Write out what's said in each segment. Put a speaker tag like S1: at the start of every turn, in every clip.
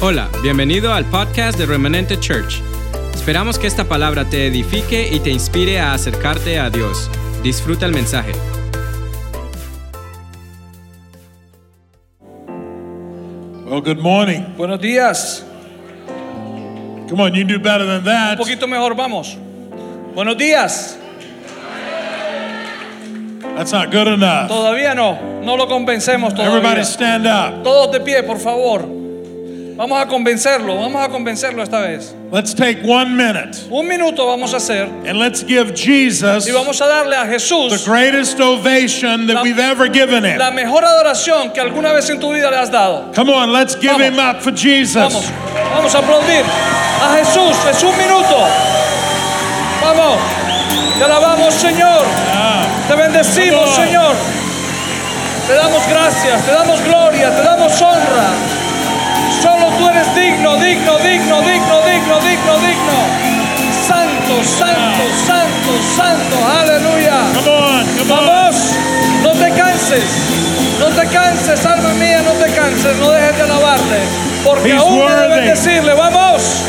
S1: Hola, bienvenido al podcast de Remanente Church. Esperamos que esta palabra te edifique y te inspire a acercarte a Dios. Disfruta el mensaje.
S2: Well, good morning.
S3: Buenos días.
S2: Come on, you do better than
S3: Un
S2: that.
S3: poquito mejor, vamos. Buenos días.
S2: That's not good enough.
S3: Todavía no. No lo convencemos
S2: Everybody
S3: todavía.
S2: stand up.
S3: Todos de pie, por favor. Vamos a convencerlo. Vamos a convencerlo esta vez.
S2: Let's take one minute
S3: Un minuto vamos a hacer
S2: and let's give Jesus
S3: y
S2: the
S3: vamos a darle a Jesús
S2: greatest ovation that
S3: La-
S2: we've ever given
S3: la
S2: him.
S3: mejor adoración que alguna vez en tu vida le has dado.
S2: Come on, let's give
S3: Vamos.
S2: him up for
S3: Vamos.
S2: Jesus.
S3: Vamos a aplaudir a Jesús. Es un minuto. Vamos. Te alabamos, Señor.
S2: Ah,
S3: Te
S2: Vamos.
S3: bendecimos, Señor. Te damos gracias, te damos gloria, te damos honra. Solo tú eres digno, digno, digno, digno, digno, digno, digno. Santo, santo, santo, santo. Aleluya.
S2: come on, come on.
S3: Vamos, no te canses. No te canses, alma mía, no te canses. No dejes de alabarte. Porque
S2: He's
S3: aún debes
S2: worthy.
S3: bendecirle. Vamos.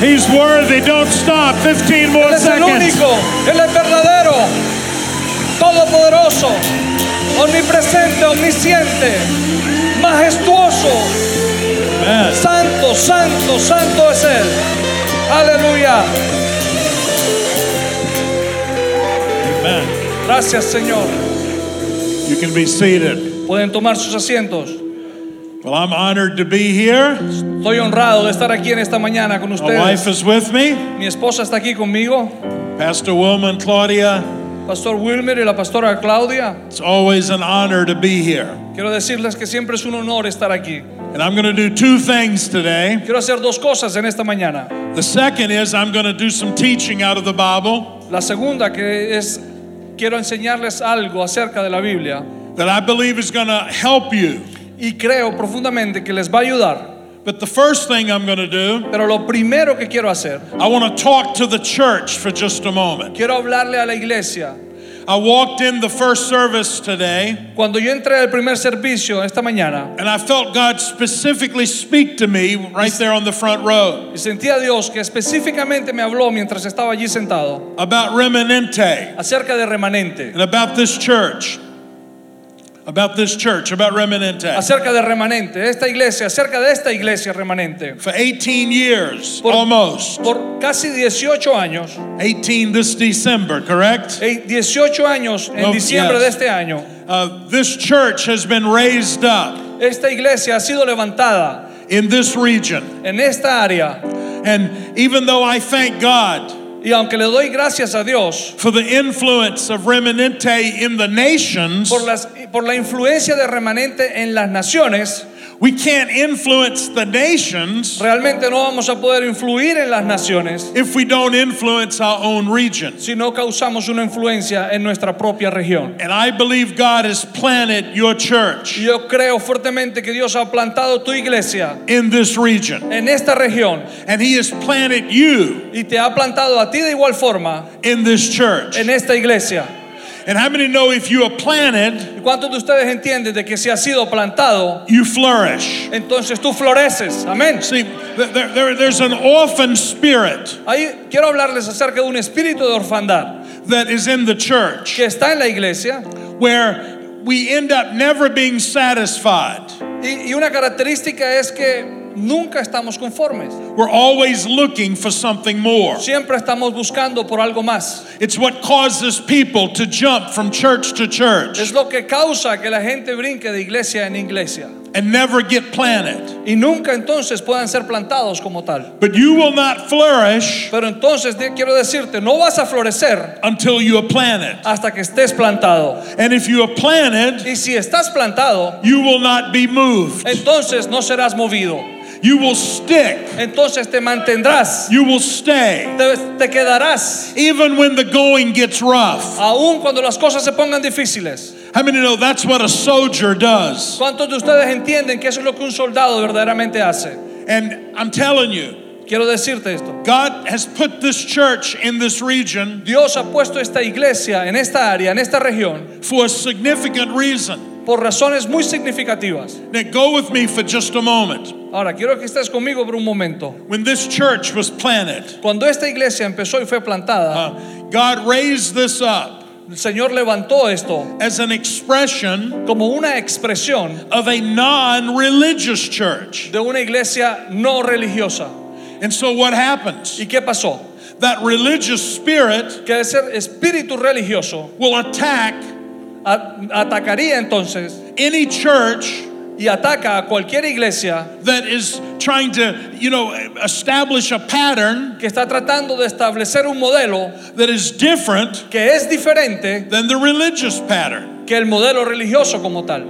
S2: He's worthy. Don't stop. 15
S3: Él
S2: more
S3: es el
S2: seconds.
S3: único, Él es verdadero, todopoderoso, omnipresente, omnisciente, majestuoso,
S2: Yes.
S3: santo, santo, santo es Él. Aleluya.
S2: Amen.
S3: Gracias Señor.
S2: You can be seated.
S3: Pueden tomar sus asientos.
S2: Well, I'm honored to be here.
S3: Estoy honrado de estar aquí en esta mañana con
S2: My wife
S3: ustedes.
S2: is with me.
S3: Mi esposa está aquí conmigo,
S2: Pastor Wilma and Claudia.
S3: Pastor Wilmer y la pastora Claudia.
S2: It's always an honor to be here.
S3: Quiero decirles que siempre es un honor estar aquí.
S2: And I'm going to do two things today.
S3: Quiero hacer dos cosas en esta mañana.
S2: The second is I'm going to do some teaching out of the Bible
S3: La segunda que es quiero enseñarles algo acerca de la Biblia
S2: that I believe is going to help you.
S3: y creo profundamente que les va a ayudar.
S2: But the first thing I'm going to do,
S3: Pero lo primero que quiero hacer,
S2: I want to talk to the church for just a moment.
S3: quiero hablarle a la iglesia.
S2: I walked in the first service today
S3: Cuando yo entré al primer servicio esta mañana
S2: and I felt God specifically speak to me right there on the front row
S3: y sentí a Dios que específicamente me habló mientras estaba allí sentado
S2: about Remanente
S3: acerca de remanente,
S2: and about this church. About this church, about Remanente.
S3: acerca de remanente, de esta iglesia, acerca de esta iglesia remanente.
S2: For 18 years,
S3: Por-
S2: almost.
S3: Por casi 18 años,
S2: 18 this December, correct?
S3: eh, 18 años en
S2: No,
S3: diciembre
S2: yes.
S3: de este año,
S2: Uh, this church has been raised up
S3: esta iglesia ha sido levantada
S2: in this region.
S3: en esta área.
S2: And even though I thank God
S3: Y aunque le doy gracias a Dios
S2: for the influence of Remanente in the nations,
S3: por, las, por la influencia de remanente en las naciones,
S2: we can't influence the nations
S3: realmente no vamos a poder influir en las naciones
S2: if we don't influence our own regions.
S3: si no causamos una influencia en nuestra propia región.
S2: And I believe God has planted your
S3: Y
S2: church
S3: Yo creo fuertemente que Dios ha plantado tu iglesia
S2: in this region.
S3: en esta región
S2: And He has planted you
S3: y te ha plantado a ti de igual forma
S2: in this church.
S3: en esta iglesia.
S2: And how many know if you are planted,
S3: ¿Y cuántos de ustedes entienden de que si has sido plantado,
S2: you flourish?
S3: entonces tú floreces? Amén.
S2: See, th- there, there, there's an orphan spirit
S3: Ahí quiero hablarles acerca de un espíritu de orfandad
S2: that is in the church
S3: que está en la iglesia
S2: where we end up never being satisfied.
S3: Y, y una característica es que nunca estamos conformes.
S2: We're always looking for something more.
S3: Siempre estamos buscando por algo más.
S2: It's what causes people to jump from church to church
S3: Es lo que causa que la gente brinque de iglesia en iglesia.
S2: and never get planted.
S3: Y nunca entonces puedan ser plantados como tal.
S2: But you will not flourish
S3: Pero entonces de- quiero decirte, no vas a florecer
S2: until you are planted.
S3: hasta que estés plantado.
S2: And if you are planted,
S3: Y si estás plantado,
S2: you will not be moved.
S3: entonces no serás movido.
S2: You will stick.
S3: Entonces te mantendrás.
S2: You will stay.
S3: Te, te quedarás.
S2: Even when the going gets rough.
S3: Aún cuando las cosas se pongan difíciles.
S2: How many know that's what a soldier does?
S3: ¿Cuántos de ustedes entienden que eso es lo que un soldado verdaderamente hace?
S2: And I'm telling you,
S3: Quiero decirte esto.
S2: God has put this church in this region
S3: Dios ha puesto esta iglesia en esta área, en esta región,
S2: for a significant reason.
S3: por razones muy significativas.
S2: Now, go with me for just a moment.
S3: Ahora, quiero que estés conmigo por un momento.
S2: When this church was planted,
S3: Cuando esta iglesia empezó y fue plantada,
S2: uh, God raised this up
S3: el Señor levantó esto
S2: as an expression
S3: como una expresión
S2: of a non religious church.
S3: de una iglesia no religiosa.
S2: And so, what happens?
S3: ¿Y qué pasó?
S2: That religious spirit
S3: Que ese espíritu religioso
S2: will attack
S3: a- atacaría entonces
S2: any church
S3: y ataca a cualquier iglesia
S2: that is trying to, you know, establish a pattern
S3: que está tratando de establecer un modelo
S2: that is different
S3: que es diferente
S2: than the religious pattern.
S3: que el modelo religioso como tal.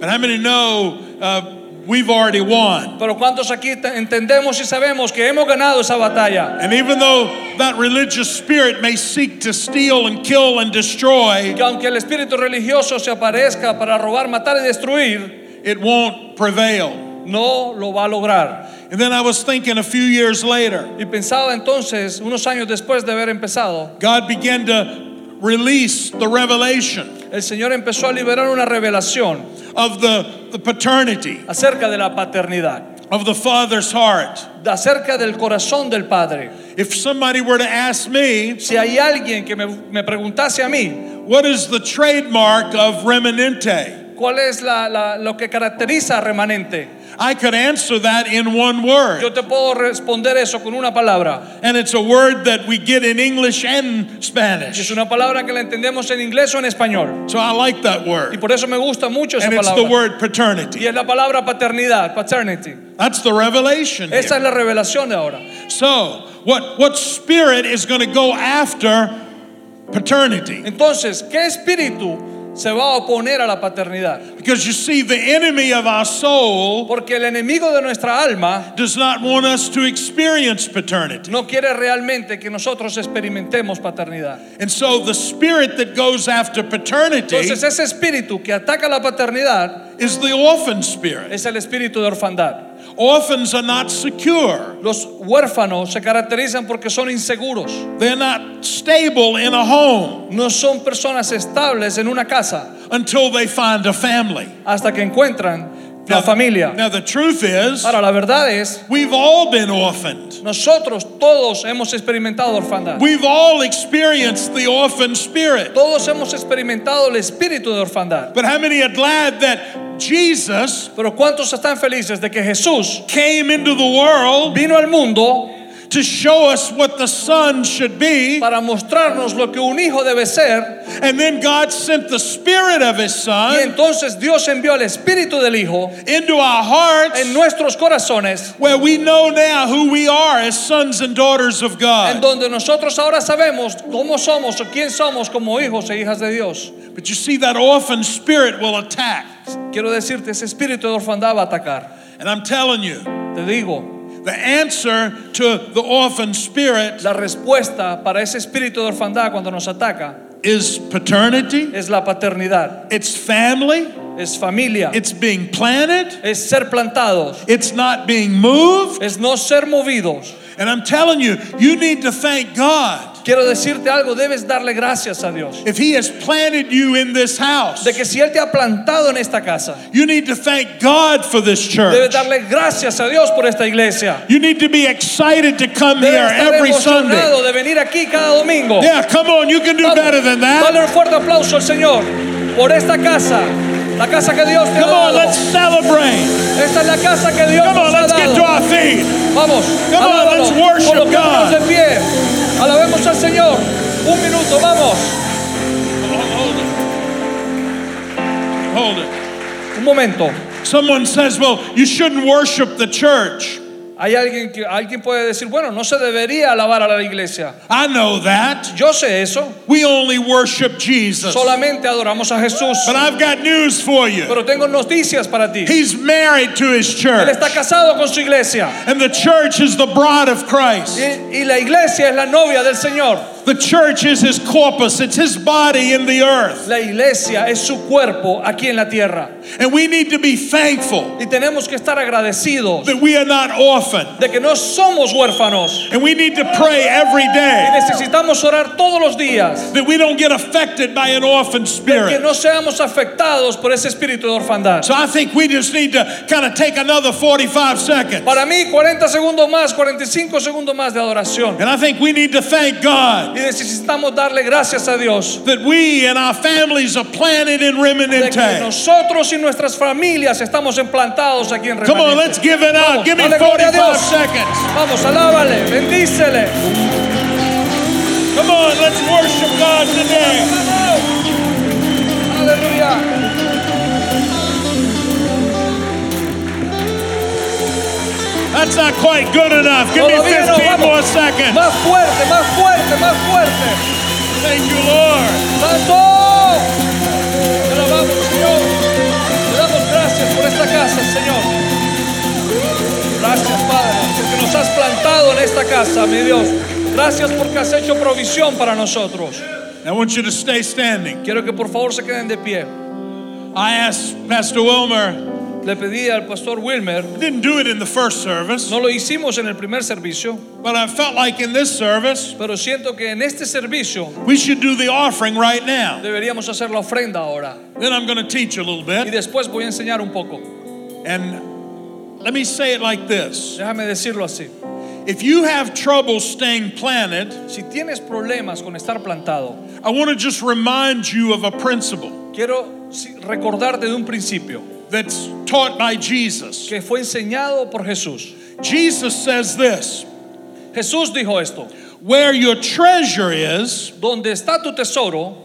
S2: But how many know uh, we've already won?
S3: Pero ¿cuántos aquí te- entendemos y sabemos que hemos ganado esa batalla?
S2: And even though that religious spirit may seek to steal and kill and destroy,
S3: Que aunque el espíritu religioso se aparezca para robar, matar y destruir,
S2: it won't prevail.
S3: no lo va a lograr.
S2: And then I was thinking a few years later,
S3: Y pensaba entonces, unos años después de haber empezado,
S2: God began to release the revelation
S3: el Señor empezó a liberar una revelación
S2: of the, the paternity,
S3: acerca de la paternidad,
S2: of the father's heart.
S3: de- acerca del corazón del Padre.
S2: If somebody were to ask me,
S3: Si hay alguien que me, me preguntase a mí,
S2: What is the trademark of Remanente?
S3: ¿cuál es la- la- lo que caracteriza a remanente?
S2: I could answer that in one
S3: Yo
S2: word.
S3: te puedo responder eso con una palabra.
S2: And it's a word that we get in English and
S3: Y Es
S2: Spanish.
S3: una palabra que la entendemos en inglés o en español.
S2: So I like that
S3: Y
S2: word.
S3: por eso me gusta mucho esa
S2: And it's the
S3: palabra.
S2: word
S3: Y
S2: paternity.
S3: es la palabra paternidad, paternity.
S2: That's the revelation. here.
S3: Esa es la revelación de ahora.
S2: So, what, what spirit is going to go after paternity?
S3: Entonces, ¿qué espíritu se va a oponer a la paternidad?
S2: Because you see, the enemy of our soul
S3: Porque el enemigo de nuestra alma
S2: does not want us to experience paternity.
S3: no quiere realmente que nosotros experimentemos paternidad.
S2: And so, the spirit that goes after paternity
S3: Entonces, ese espíritu que ataca la paternidad
S2: is the orphan spirit.
S3: es el espíritu de orfandad.
S2: Orphans are not secure.
S3: Los huérfanos se caracterizan porque son inseguros.
S2: They're not stable in a home
S3: No son personas estables en una casa
S2: until they find a family.
S3: hasta que encuentran la
S2: Now-
S3: familia.
S2: Now, the truth is,
S3: Ahora, la verdad es,
S2: we've all been orphaned.
S3: nosotros todos hemos experimentado orfandad.
S2: We've all experienced the orphan spirit.
S3: Todos hemos experimentado el espíritu de orfandad.
S2: But how many are glad that Jesus
S3: Pero ¿cuántos están felices de que Jesús
S2: came into the world
S3: vino al mundo
S2: to show us what the son should be?
S3: para mostrarnos lo que un hijo debe ser?
S2: And then God sent the spirit of his
S3: Y
S2: son
S3: entonces Dios envió el espíritu del hijo
S2: into our
S3: en
S2: hearts
S3: nuestros corazones,
S2: where we know now who we are as sons and daughters of God.
S3: en donde nosotros ahora sabemos cómo somos o quién somos como hijos e hijas de Dios.
S2: But you see, that orphan spirit will attack.
S3: Quiero decirte, ese espíritu de orfandad va a atacar.
S2: And I'm telling you,
S3: Te digo,
S2: the answer to the orphan spirit
S3: la respuesta para ese espíritu de orfandad cuando nos ataca
S2: is paternity,
S3: es la paternidad,
S2: it's family,
S3: es familia,
S2: it's being planted,
S3: es ser plantados,
S2: it's not being moved.
S3: es no ser movidos.
S2: And I'm telling you, you need to thank God.
S3: Quiero decirte algo, debes darle gracias a Dios.
S2: If He has planted you in this house,
S3: De que si Él te ha plantado en esta casa,
S2: you need to thank God for this
S3: debes
S2: church.
S3: darle gracias a Dios por esta iglesia.
S2: You need to be excited to come here
S3: Debes estar
S2: every Sunday.
S3: emocionado de venir aquí cada domingo.
S2: Yeah, come on, you can do better than that.
S3: Dale un fuerte aplauso al Señor por esta casa, la casa que Dios te ha
S2: Come on,
S3: dado.
S2: let's celebrate.
S3: Esta es la casa que Dios
S2: Come on,
S3: nos ha
S2: let's get to
S3: dado.
S2: our feet.
S3: Vamos,
S2: Come on,
S3: alábalo,
S2: let's worship
S3: coloquémonos
S2: God.
S3: de pie. Alabemos al Señor. Un minuto, vamos.
S2: Hold it. Hold it.
S3: Un momento.
S2: Someone says, well, you shouldn't worship the church.
S3: Hay alguien que alguien puede decir, bueno, no se debería alabar a la iglesia.
S2: I know that.
S3: Yo sé eso.
S2: We only worship Jesus. But
S3: Solamente adoramos a Jesús.
S2: I've got news for you.
S3: Pero tengo noticias para ti.
S2: He's married to his
S3: Él
S2: church.
S3: está casado con su iglesia.
S2: And the church is the bride of Christ.
S3: Y, y la iglesia es la novia del Señor.
S2: The church is his corpus, it's his body in the earth.
S3: La iglesia es su cuerpo aquí en la tierra.
S2: And we need to be thankful
S3: Y tenemos que estar agradecidos
S2: that we are not orphaned.
S3: de que no somos huérfanos.
S2: And we need to pray every
S3: Y
S2: day
S3: necesitamos orar todos los días.
S2: that we don't get affected by an orphan
S3: Que
S2: spirit.
S3: no seamos afectados por ese espíritu de orfandad.
S2: So I think we just need to kind of take another 45 seconds.
S3: Para mí, 40 segundos más, 45 segundos más de adoración.
S2: And I think we need to thank God
S3: Y necesitamos darle gracias a Dios.
S2: that we and our families are planted in
S3: De que
S2: Remanente.
S3: nosotros y nuestras familias estamos implantados aquí en
S2: Come on,
S3: Remanente.
S2: let's give it
S3: Vamos,
S2: out. Give me
S3: dale gloria a
S2: 45
S3: Dios.
S2: seconds.
S3: Vamos, alábale, bendícele.
S2: Come on, let's worship God today.
S3: Aleluya.
S2: That's not quite good enough. Give me
S3: Todavía no,
S2: 15 more
S3: vamos.
S2: seconds.
S3: Más fuerte, más fuerte, más fuerte.
S2: Thank you, Lord.
S3: ¡Santo! Te alabamos, Señor. Te damos gracias por esta casa, Señor. Gracias, Padre, porque nos has plantado en esta casa, mi Dios. Gracias porque has hecho provisión para nosotros.
S2: I want you to stay standing.
S3: Quiero que por favor se queden de pie.
S2: I asked Pastor Wilmer,
S3: Le pedí al pastor Wilmer,
S2: didn't do it in the first service,
S3: no lo hicimos en el primer servicio,
S2: but I felt like in this service,
S3: pero siento que en este servicio
S2: we should do the offering right now.
S3: deberíamos hacer la ofrenda ahora.
S2: Then I'm going to teach a little
S3: Y
S2: bit.
S3: después voy a enseñar un poco.
S2: And let me say it like this
S3: Déjame decirlo así.
S2: If you have trouble staying planted,
S3: Si tienes problemas con estar plantado,
S2: I want to just remind you of a principle
S3: Quiero sí, recordarte de un principio
S2: that's taught by Jesus.
S3: que fue enseñado por Jesús.
S2: Jesus says this
S3: Jesús dijo esto,
S2: Where your treasure is,
S3: donde está tu tesoro,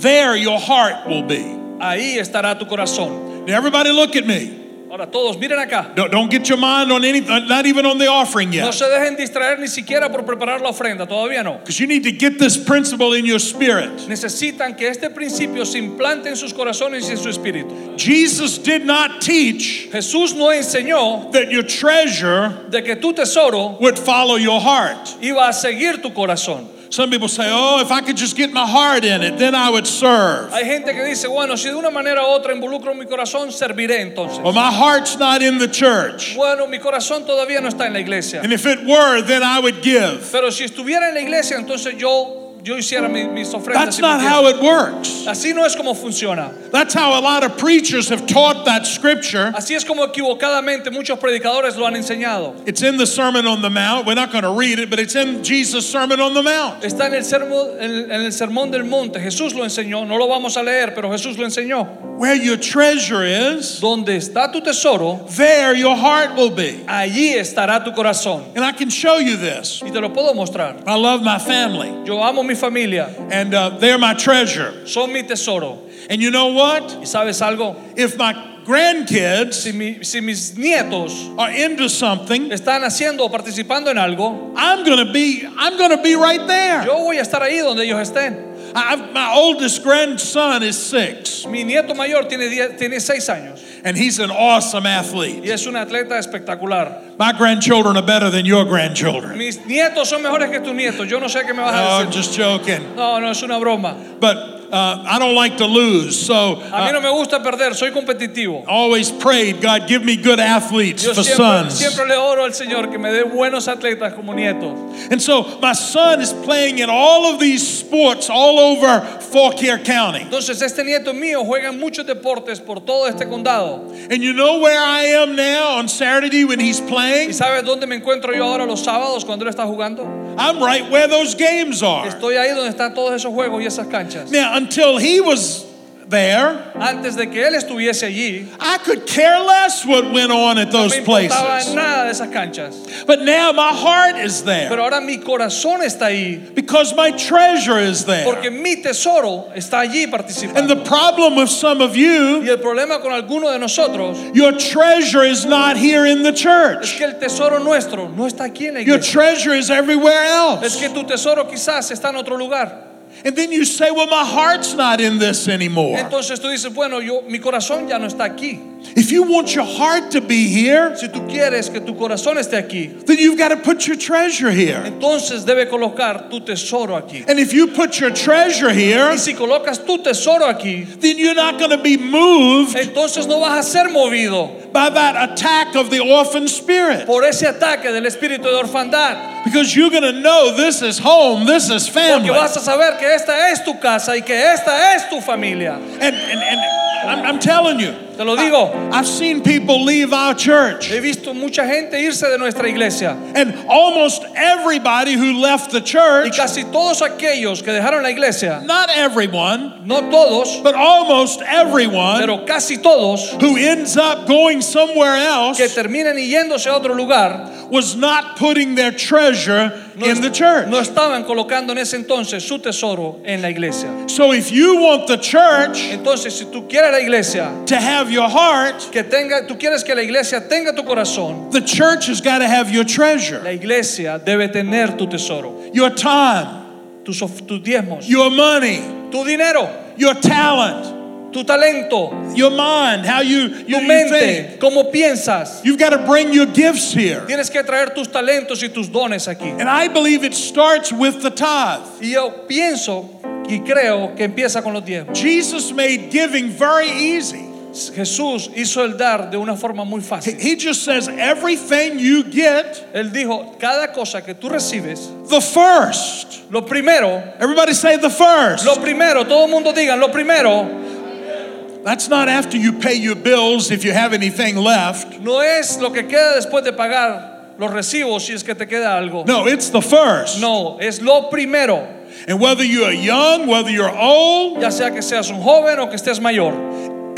S2: there your heart will be.
S3: ahí estará tu corazón.
S2: Now, everybody, look at me.
S3: Ahora todos, miren acá.
S2: Don't, don't get your mind on anything, not even on the offering
S3: No
S2: yet.
S3: se dejen distraer ni siquiera por preparar la ofrenda, todavía no.
S2: Because you need to get this principle in your spirit.
S3: Necesitan que este principio se implante en sus corazones y en su espíritu.
S2: Jesus did not teach
S3: Jesús no enseñó
S2: that your treasure
S3: de que tu tesoro
S2: would follow your heart.
S3: iba a seguir tu corazón.
S2: Some people say, oh, if I could just get my heart in it, then I would serve.
S3: Hay gente que dice, bueno, si de una manera u otra involucro mi corazón, serviré entonces.
S2: Or my heart's not in the church.
S3: Bueno, mi corazón todavía no está en la iglesia.
S2: And if it were, then I would give.
S3: Pero si estuviera en la iglesia, entonces yo, yo hiciera mi- mis ofrendas.
S2: That's
S3: y mi
S2: not
S3: diezmo.
S2: how it works.
S3: Así no es como funciona.
S2: That's how a lot of preachers have taught that scripture.
S3: Así es como equivocadamente muchos predicadores lo han enseñado.
S2: It's in the Sermon on the Mount. We're not going to read it, but it's in Jesus' Sermon on the Mount.
S3: Está en el, sermo, en, en el sermón del monte. Jesús lo enseñó. No lo vamos a leer, pero Jesús lo enseñó.
S2: Where your treasure is,
S3: Donde está tu tesoro,
S2: there your heart will be.
S3: allí estará tu corazón.
S2: And I can show you this.
S3: Y te lo puedo mostrar.
S2: I love my family,
S3: Yo amo mi familia.
S2: and uh, they're my treasure.
S3: Son mi tesoro.
S2: And you know what?
S3: ¿Y sabes algo?
S2: If my grandkids
S3: Si, mi- si mis nietos
S2: are into something,
S3: están haciendo o participando en algo,
S2: I'm going to be I'm going to be right there.
S3: yo voy a estar ahí donde ellos estén.
S2: I, I've- my oldest grandson is six,
S3: Mi nieto mayor tiene, 10 tiene 6 años
S2: and he's an awesome athlete.
S3: y es un atleta espectacular.
S2: My grandchildren are better than your grandchildren.
S3: Mis nietos son mejores que tus nietos. Yo no sé qué me vas
S2: Oh,
S3: a
S2: I'm
S3: decir.
S2: just joking.
S3: No, no, es una broma.
S2: But uh, I don't like to lose, so
S3: A mí no
S2: I
S3: me gusta perder, soy competitivo.
S2: always prayed, God, give me good athletes
S3: Yo
S2: for
S3: siempre,
S2: sons.
S3: siempre le oro al Señor que me dé buenos atletas como nietos.
S2: And so my son is playing in all of these sports all over Fauquier County.
S3: Entonces, este nieto mío juega en muchos deportes por todo este condado.
S2: And you know where I am now on Saturday when he's
S3: ¿Y
S2: playing?
S3: sabes dónde me encuentro yo ahora los sábados cuando él está jugando?
S2: I'm right where those games are.
S3: Estoy ahí donde están todos esos juegos y esas canchas.
S2: Now, until he was there,
S3: Antes de que él estuviese allí,
S2: I could care less what went on at
S3: no
S2: those
S3: me importaba
S2: places.
S3: nada de esas canchas.
S2: But now my heart is there
S3: Pero ahora mi corazón está ahí
S2: because my treasure is
S3: porque
S2: there.
S3: mi tesoro está allí
S2: And
S3: participando.
S2: the problem with some of you
S3: Y el problema con alguno de nosotros
S2: Your treasure is not here in the
S3: es
S2: church.
S3: que el tesoro nuestro no está aquí en la
S2: Your
S3: iglesia.
S2: treasure is everywhere
S3: Es
S2: else.
S3: que tu tesoro quizás está en otro lugar.
S2: And then you say, well, my heart's not in this anymore.
S3: Entonces tú dices, bueno, yo, mi corazón ya no está aquí.
S2: If you want your heart to be here,
S3: Si tú quieres que tu corazón esté aquí,
S2: then you've got to put your treasure here.
S3: entonces debe colocar tu tesoro aquí.
S2: And if you put your treasure here,
S3: Y si colocas tu tesoro aquí,
S2: then you're not going to be moved
S3: entonces no vas a ser movido
S2: by that attack of the orphan spirit
S3: por ese ataque del espíritu de orfandad.
S2: because you're going to know this is home, this is
S3: Porque
S2: family.
S3: vas a saber que esta es tu casa y que esta es tu familia.
S2: And, and, and I'm, I'm telling you,
S3: Te lo digo.
S2: I've seen people leave our church,
S3: He visto mucha gente irse de nuestra iglesia.
S2: and almost everybody who left the
S3: Y
S2: church,
S3: casi todos aquellos que dejaron la iglesia,
S2: not everyone,
S3: no todos,
S2: but almost everyone
S3: pero casi todos,
S2: who ends up going somewhere else
S3: que terminan y yéndose a otro lugar,
S2: was not putting their treasure
S3: no,
S2: in the
S3: no
S2: church.
S3: estaban colocando en ese entonces su tesoro en la iglesia.
S2: So if you want the church
S3: Entonces, si tú quieres la iglesia,
S2: to have your heart,
S3: que tenga, tú quieres que la iglesia tenga tu corazón,
S2: the church has got to have your treasure,
S3: la iglesia debe tener tu tesoro,
S2: your time,
S3: tus, of- tus diezmos,
S2: your money,
S3: tu dinero,
S2: your talent,
S3: tu talento,
S2: your mind, how you, you,
S3: tu
S2: you think.
S3: mente, cómo piensas.
S2: You've got to bring your gifts here.
S3: Tienes que traer tus talentos y tus dones aquí.
S2: And I believe it starts with the tithe.
S3: Y yo pienso y creo que empieza con los diezmos.
S2: Jesus made giving very easy.
S3: Jesús hizo el dar de una forma muy
S2: He-
S3: fácil.
S2: He just says, everything you get,
S3: Él dijo, cada cosa que tú recibes,
S2: the first.
S3: lo primero,
S2: Everybody say the first.
S3: lo primero, todo el mundo digan, lo primero
S2: That's not after you pay your bills if you have anything left.
S3: no es lo que queda después de pagar los recibos si es que te queda algo.
S2: No, it's the first.
S3: No, es lo primero,
S2: And whether you are young, whether you're old,
S3: ya sea que seas un joven o que estés mayor.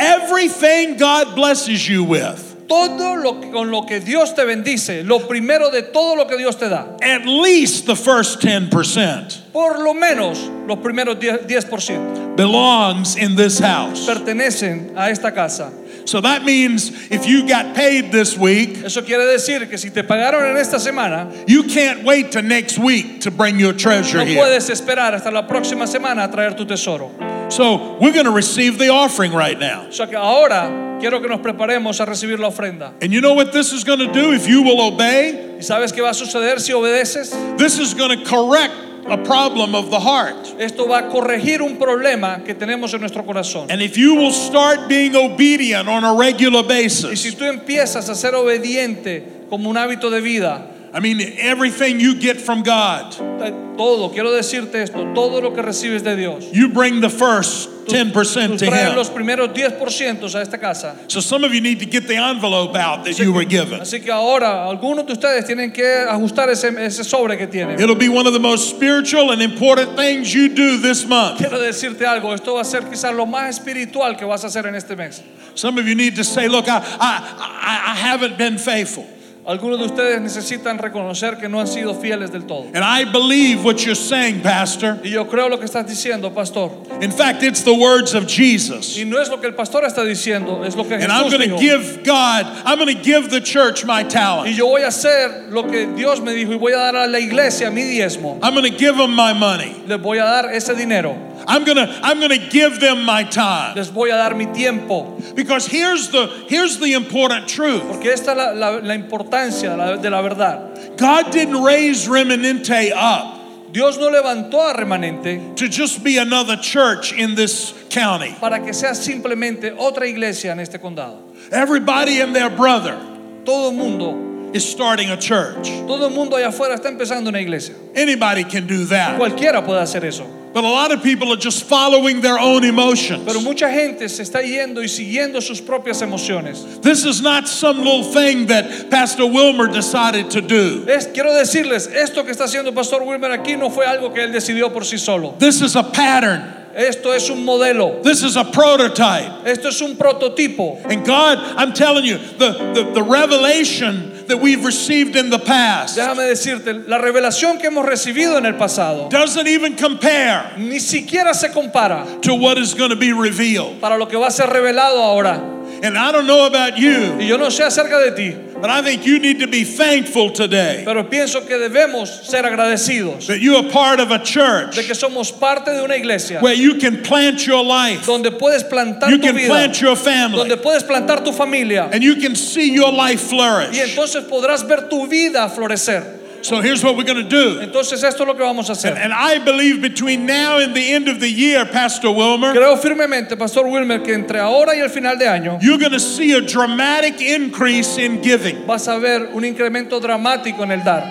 S2: everything God blesses you with,
S3: Todo lo que, con lo que Dios te bendice, lo primero de todo lo que Dios te da,
S2: at least the first 10%
S3: por lo menos los primeros 10%, 10%
S2: belongs in this house.
S3: pertenecen a esta casa.
S2: So that means if you got paid this week,
S3: Eso quiere decir que si te pagaron en esta semana,
S2: you can't wait to next week to bring your treasure
S3: no
S2: here.
S3: puedes esperar hasta la próxima semana a traer tu tesoro.
S2: So we're going to receive the offering right now.
S3: O sea que ahora quiero que nos preparemos a recibir la ofrenda.
S2: And you know what this is going to do if you will obey?
S3: ¿Y sabes qué va a suceder si obedeces?
S2: This is going to correct a problem of the heart.
S3: Esto va a corregir un problema que tenemos en nuestro corazón.
S2: And if you will start being obedient on a regular
S3: Y si
S2: basis,
S3: tú empiezas a ser obediente como un hábito de vida,
S2: I mean, everything you get from God,
S3: eh, todo, quiero decirte esto, todo lo que recibes de Dios,
S2: you bring the first
S3: tú
S2: 10% to
S3: traes los
S2: Him.
S3: primeros 10% a esta casa.
S2: So some of you need to get the envelope out that you were given.
S3: Así que ahora algunos de ustedes tienen que ajustar ese, ese sobre que tienen.
S2: It'll be one of the most spiritual and important things you do this month.
S3: Quiero decirte algo, esto va a ser quizás lo más espiritual que vas a hacer en este mes.
S2: Some of you need to say, Look, I, I, I, I haven't been faithful.
S3: Algunos de ustedes necesitan reconocer que no han sido fieles del todo.
S2: And I believe what you're saying, Pastor.
S3: Y yo creo lo que estás diciendo, pastor.
S2: In fact, it's the words of Jesus.
S3: Y no es lo que el pastor está diciendo, es lo que
S2: And I'm
S3: Jesús
S2: going
S3: dijo.
S2: to give God, I'm going to give the church my
S3: Y
S2: talent.
S3: yo voy a hacer lo que Dios me dijo y voy a dar a la iglesia mi diezmo.
S2: I'm going to give them my money.
S3: Les voy a dar ese dinero.
S2: I'm going to I'm going to give them my time.
S3: Les voy a dar mi tiempo.
S2: Because here's the here's the important truth.
S3: Porque esta es la, la- la importancia de la, de la verdad.
S2: God didn't raise Remanente up
S3: Dios no levantó a remanente
S2: to just be another church in this county.
S3: para que sea simplemente otra iglesia en este condado.
S2: Everybody and their brother
S3: Todo el mundo,
S2: is starting a church.
S3: todo el mundo allá afuera está empezando una iglesia.
S2: Anybody can do that.
S3: Cualquiera puede hacer eso.
S2: But a lot of people are just following their own emotions.
S3: Pero mucha gente se está yendo y siguiendo sus propias emociones.
S2: This is not some little thing that Pastor Wilmer decided to do.
S3: Es- quiero decirles, esto que está haciendo Pastor Wilmer aquí no fue algo que él decidió por sí solo.
S2: This is a pattern.
S3: Esto es un modelo,
S2: This is a prototype.
S3: esto es un prototipo.
S2: And God, I'm telling you, the, the, the revelation that we've received in the past
S3: Déjame decirte, la revelación que hemos recibido en el pasado
S2: doesn't even compare
S3: ni siquiera se compara
S2: to what is going to be revealed.
S3: para lo que va a ser revelado ahora.
S2: And And I don't know about you,
S3: Y yo no sé acerca de ti,
S2: but I think you need to be thankful today
S3: pero pienso que debemos ser agradecidos
S2: that you are part of a church
S3: de que somos parte de una iglesia
S2: where you can plant your life,
S3: donde puedes plantar
S2: you
S3: tu
S2: can
S3: vida,
S2: plant your
S3: donde
S2: family,
S3: puedes plantar tu familia
S2: and you can see your life
S3: y
S2: flourish.
S3: entonces podrás ver tu vida florecer.
S2: So here's what we're going to do.
S3: Entonces esto es lo que vamos a hacer.
S2: And I believe between now and the end of the year, Pastor Wilmer,
S3: Creo firmemente, Pastor Wilmer, que entre ahora y el final de año
S2: you're going to see a dramatic increase in giving.
S3: vas a ver un incremento dramático en el dar.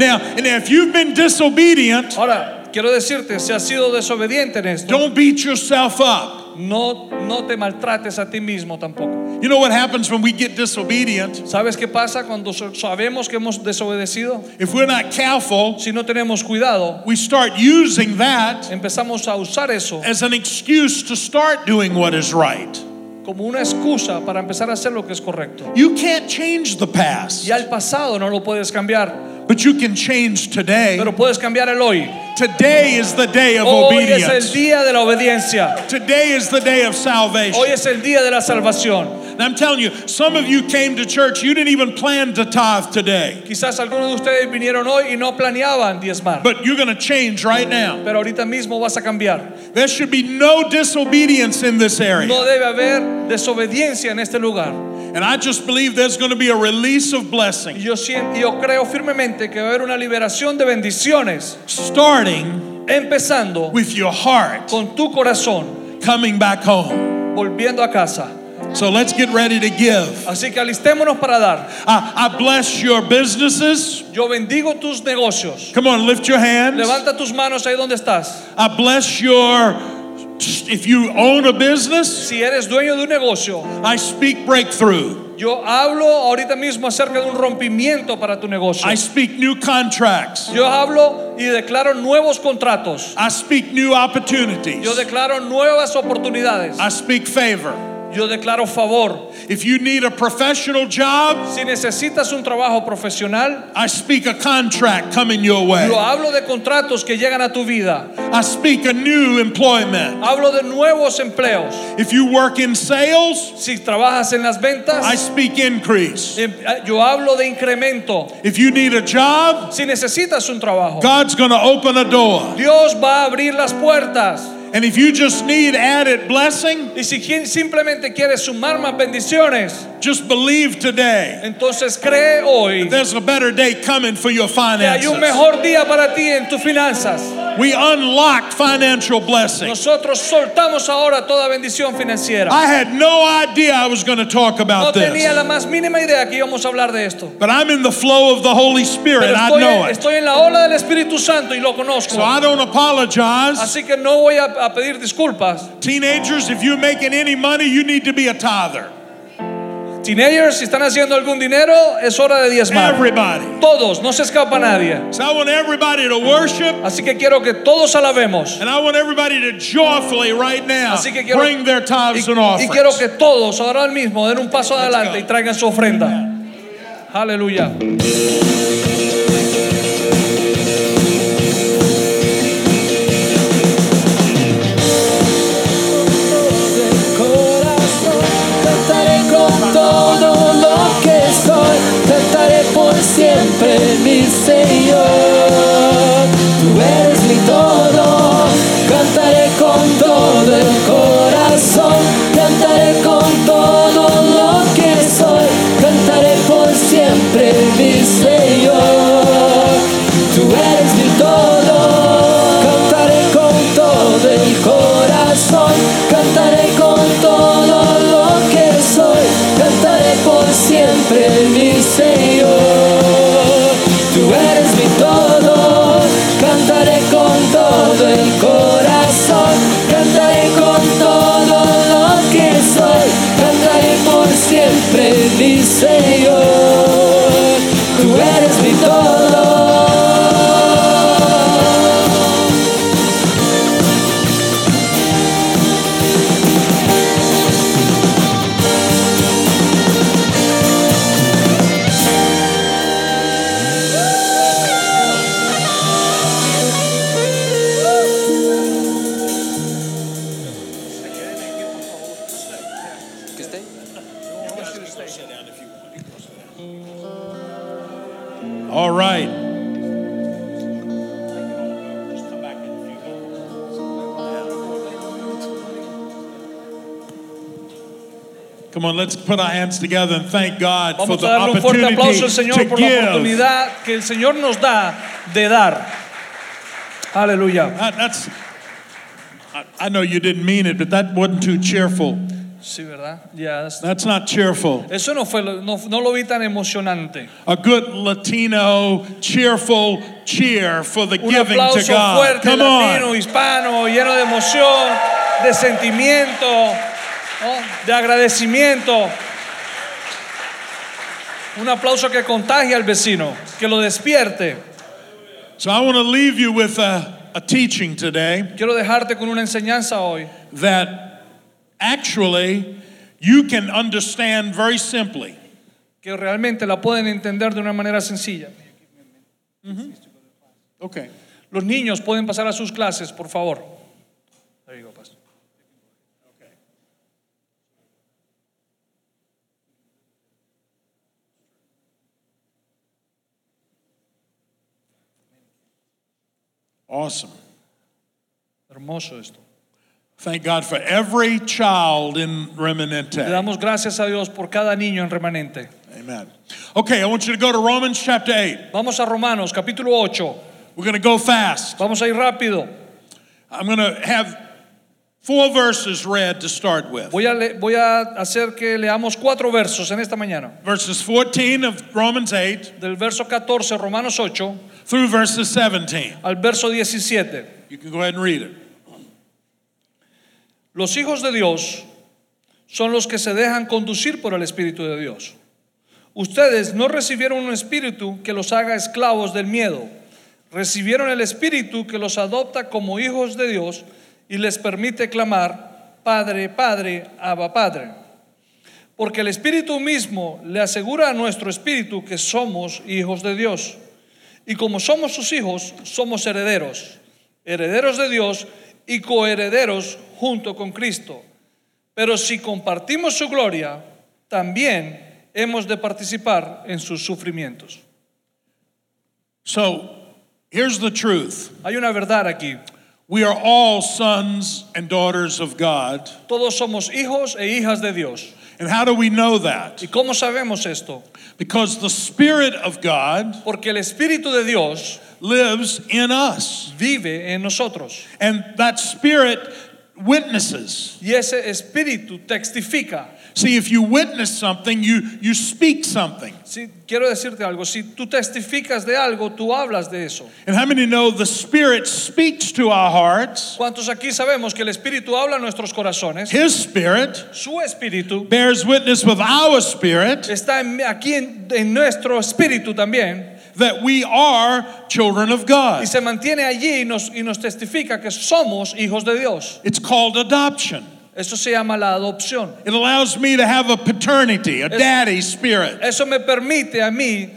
S2: Now, and if you've been disobedient,
S3: Ahora, quiero decirte, si has sido desobediente en esto,
S2: don't beat yourself up.
S3: no, no te maltrates a ti mismo tampoco.
S2: You know what happens when we get disobedient?
S3: ¿Sabes qué pasa cuando so- sabemos que hemos desobedecido?
S2: If we're not careful,
S3: Si no tenemos cuidado,
S2: we start using that
S3: empezamos a usar eso
S2: as an excuse to start doing what is right.
S3: como una excusa para empezar a hacer lo que es correcto.
S2: You can't change the past,
S3: Ya el pasado no lo puedes cambiar,
S2: but you can change today.
S3: pero puedes cambiar el hoy.
S2: Today is the day of
S3: Hoy es el
S2: obedience.
S3: día de la obediencia.
S2: Today is the day of salvation.
S3: Hoy es el día de la salvación.
S2: And I'm telling you, some of you came to church, you didn't even plan to tithe today,
S3: Quizás algunos de ustedes vinieron hoy y no planeaban diezmar,
S2: but you're going to change right now.
S3: pero ahorita mismo vas a cambiar.
S2: There should be no disobedience in this
S3: No
S2: area.
S3: debe haber desobediencia en este lugar.
S2: And I just believe there's going to be a release of
S3: Y
S2: blessing
S3: Yo, sien- yo creo firmemente que va a haber una liberación de bendiciones,
S2: starting
S3: empezando
S2: with your heart
S3: con tu corazón,
S2: coming back home.
S3: volviendo a casa.
S2: So let's get ready to give.
S3: Así que alistémonos para dar.
S2: I, I bless your businesses.
S3: Yo bendigo tus negocios.
S2: Come on, lift your hands.
S3: Levanta tus manos ahí donde estás.
S2: I bless your, if you own a business,
S3: Si eres dueño de un negocio,
S2: I speak breakthrough.
S3: yo hablo ahorita mismo acerca de un rompimiento para tu negocio.
S2: I speak new contracts.
S3: Yo hablo y declaro nuevos contratos.
S2: I speak new opportunities.
S3: Yo declaro nuevas oportunidades.
S2: I speak favor.
S3: Yo declaro favor.
S2: If you need a professional job,
S3: Si necesitas un trabajo profesional,
S2: I speak a contract coming your way.
S3: yo hablo de contratos que llegan a tu vida.
S2: I speak a new employment.
S3: Hablo de nuevos empleos.
S2: If you work in sales,
S3: Si trabajas en las
S2: I
S3: ventas,
S2: speak increase.
S3: em- yo hablo de incremento.
S2: If you need a job,
S3: Si necesitas un trabajo,
S2: God's going to open a door.
S3: Dios va a abrir las puertas.
S2: And if you just need added blessing,
S3: Y si quien- simplemente quieres sumar más bendiciones,
S2: just believe today.
S3: entonces cree hoy
S2: There's a better day coming for your
S3: que hay un
S2: finances.
S3: mejor día para ti en tus finanzas.
S2: We unlock financial blessing.
S3: Nosotros soltamos ahora toda bendición financiera.
S2: I had no idea I was going to talk
S3: No
S2: about
S3: tenía
S2: this,
S3: la más mínima idea que íbamos a hablar de esto.
S2: but I'm in the flow of the Holy Spirit.
S3: Pero
S2: I
S3: estoy,
S2: know it.
S3: estoy en la ola del Espíritu Santo y lo conozco.
S2: So I don't apologize.
S3: Así que no voy a, a pedir disculpas.
S2: Teenagers, if you're making any money, you need to be a tither.
S3: Teenagers, si están haciendo algún dinero, es hora de diezmar.
S2: Everybody.
S3: Todos, no se escapa nadie.
S2: So I want everybody to worship,
S3: Así que quiero que todos alabemos.
S2: and I want everybody to joyfully right now
S3: Así que quiero-
S2: bring their tithes and
S3: Y, y quiero
S2: offerings.
S3: que todos ahora mismo den un paso adelante y traigan su ofrenda. Aleluya.
S4: corazón. Cantaré con todo lo que soy, cantaré por siempre, mi Señor. Tú eres mi todo, cantaré con todo el corazón, cantaré con todo lo que soy, cantaré por siempre, mi Señor. Tú eres mi todo, cantaré con todo el corazón, cantaré con todo lo que soy, cantaré por siempre mi Señor. Tú eres mi todo, cantaré con todo el corazón, cantaré con todo lo que soy, cantaré por siempre mi Señor. Tú eres mi todo.
S2: sit down if you want. You can go sit down. All right. Just come back in a few minutes. Come on, let's put our hands together and thank God for
S3: Vamos
S2: the
S3: a darle un fuerte
S2: opportunity
S3: aplauso al Señor
S2: to
S3: por la
S2: give.
S3: oportunidad que el Señor nos da de dar. Aleluya.
S2: That- that's, I, I know you didn't mean it, but that wasn't too cheerful.
S3: Sí, ¿verdad? Ya.
S2: That's not cheerful.
S3: Eso no, fue, lo- no, no lo vi tan emocionante.
S2: A good Latino, cheerful cheer for the
S3: Un
S2: giving to
S3: aplauso
S2: God.
S3: fuerte,
S2: Come
S3: latino,
S2: on.
S3: hispano, lleno de emoción, de sentimiento, ¿no? de agradecimiento. Un aplauso que contagie al vecino, que lo despierte.
S2: So I want to leave you with a, a teaching today
S3: Quiero dejarte con una enseñanza hoy.
S2: that actually you can understand very simply.
S3: que realmente la pueden entender de una manera sencilla.
S2: Okay.
S3: Los niños pueden pasar a sus clases, por favor. There you go, Pastor.
S2: Awesome.
S3: Hermoso esto.
S2: Thank God for every child in
S3: Le
S2: Remanente.
S3: damos gracias a Dios por cada niño en remanente.
S2: Amen. Okay, I want you to go to Romans chapter 8.
S3: Vamos a Romanos capítulo 8.
S2: We're going to go fast.
S3: Vamos a ir rápido.
S2: I'm going to have four verses read to start with.
S3: Voy a, le- voy a hacer que leamos cuatro versos en esta mañana.
S2: Verses 14 of Romans 8
S3: Del verso 14, Romanos 8,
S2: through verses 17.
S3: al verso 17.
S2: You can go ahead and read it.
S3: Los hijos de Dios son los que se dejan conducir por el Espíritu de Dios. Ustedes no recibieron un espíritu que los haga esclavos del miedo. Recibieron el espíritu que los adopta como hijos de Dios y les permite clamar, Padre, Padre, Abba, Padre. Porque el espíritu mismo le asegura a nuestro espíritu que somos hijos de Dios. Y como somos sus hijos, somos herederos, herederos de Dios y coherederos junto con Cristo. Pero si compartimos su gloria, también hemos de participar en sus sufrimientos.
S2: So here's the truth
S3: Hay una verdad aquí.
S2: we are all sons and daughters of God.
S3: Todos somos hijos e hijas de Dios.
S2: And how do we know that?
S3: ¿Y cómo sabemos esto?
S2: Because the Spirit of God
S3: Porque el Espíritu de Dios
S2: lives in us,
S3: vive en nosotros.
S2: and that Spirit witnesses.
S3: Y ese Espíritu testifica.
S2: See, if you witness something, you, you speak something.
S3: Si, quiero decirte algo. Si tú testificas de algo, tú hablas de eso.
S2: And how many know the Spirit speaks to our hearts?
S3: ¿Cuántos aquí sabemos que el Espíritu habla a nuestros corazones?
S2: His Spirit
S3: Su Espíritu
S2: bears witness with our spirit
S3: está en- aquí en, en nuestro espíritu también
S2: that we are children of
S3: y
S2: God.
S3: se mantiene allí y nos, y nos testifica que somos hijos de Dios.
S2: It's called adoption.
S3: Eso se llama la adopción.
S2: It allows me to have a paternity, a daddy spirit.
S3: Eso me permite a mí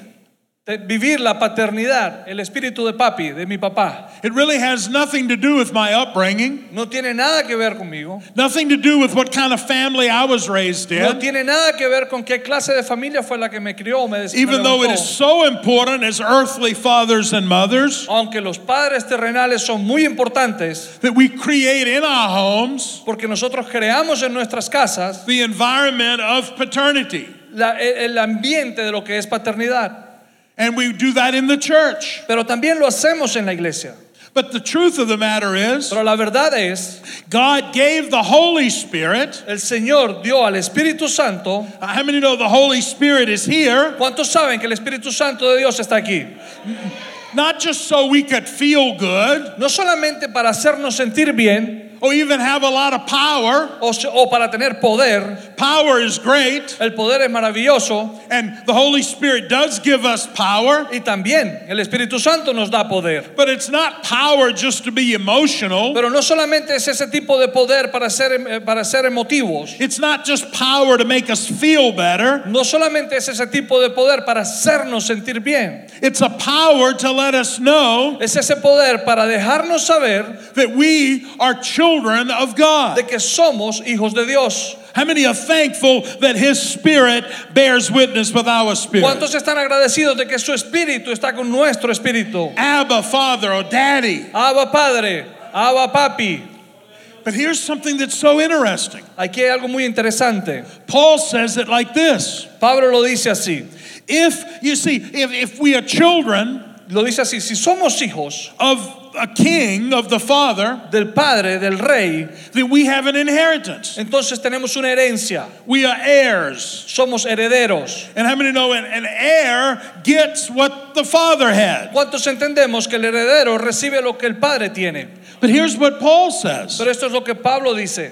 S3: te- vivir la paternidad, el espíritu de papi, de mi papá.
S2: It really has nothing to do with my upbringing,
S3: No tiene nada que ver conmigo.
S2: nothing to do with what kind of family I was raised
S3: No
S2: in,
S3: tiene nada que ver con qué clase de familia fue la que me crió o me des- me
S2: even though it
S3: levantó.
S2: is so important as earthly fathers and mothers
S3: Aunque los padres terrenales son muy importantes,
S2: that we create in our homes
S3: Porque nosotros creamos en nuestras casas
S2: the environment of paternity.
S3: la- e- el ambiente de lo que es paternidad,
S2: And we do that in the church.
S3: pero también lo hacemos en la iglesia.
S2: But the truth of the matter is,
S3: Pero la verdad es,
S2: God gave the Holy Spirit
S3: el Señor dio al Espíritu Santo.
S2: Uh, How many know the Holy Spirit is here?
S3: ¿Cuántos saben que el Espíritu Santo de Dios está aquí?
S2: Not just so we could feel good
S3: No solamente para hacernos sentir bien
S2: or even have a lot of power.
S3: o, se- o para tener poder,
S2: Power is great,
S3: el poder es maravilloso,
S2: and the Holy Spirit does give us power,
S3: y también el Espíritu Santo nos da poder.
S2: but it's not power just to be emotional.
S3: Pero no solamente es ese tipo de poder para ser, em- eh, para ser emotivos,
S2: It's not just power to make us feel better.
S3: no solamente es ese tipo de poder para hacernos sentir bien.
S2: It's a power to let us know
S3: Es ese poder para dejarnos saber
S2: that we are children of God.
S3: de que somos hijos de Dios.
S2: How many are thankful that His Spirit bears witness with our spirit?
S3: ¿Cuántos están agradecidos de que su espíritu está con nuestro espíritu?
S2: Abba, Father, or Daddy.
S3: Abba Padre, Abba Papi.
S2: But here's something that's so interesting.
S3: Aquí hay algo muy interesante.
S2: Paul says it like this
S3: Pablo lo dice así.
S2: If, you see, if, if we are children
S3: Lo dice así, si somos hijos
S2: of a king, of the Father,
S3: del Padre, del Rey,
S2: then we have an inheritance.
S3: entonces tenemos una herencia,
S2: We are heirs.
S3: somos herederos.
S2: And how many know an, an heir gets what the Father had?
S3: ¿Cuántos entendemos que el heredero recibe lo que el Padre tiene?
S2: But here's what Paul says
S3: Pero esto es lo que Pablo dice.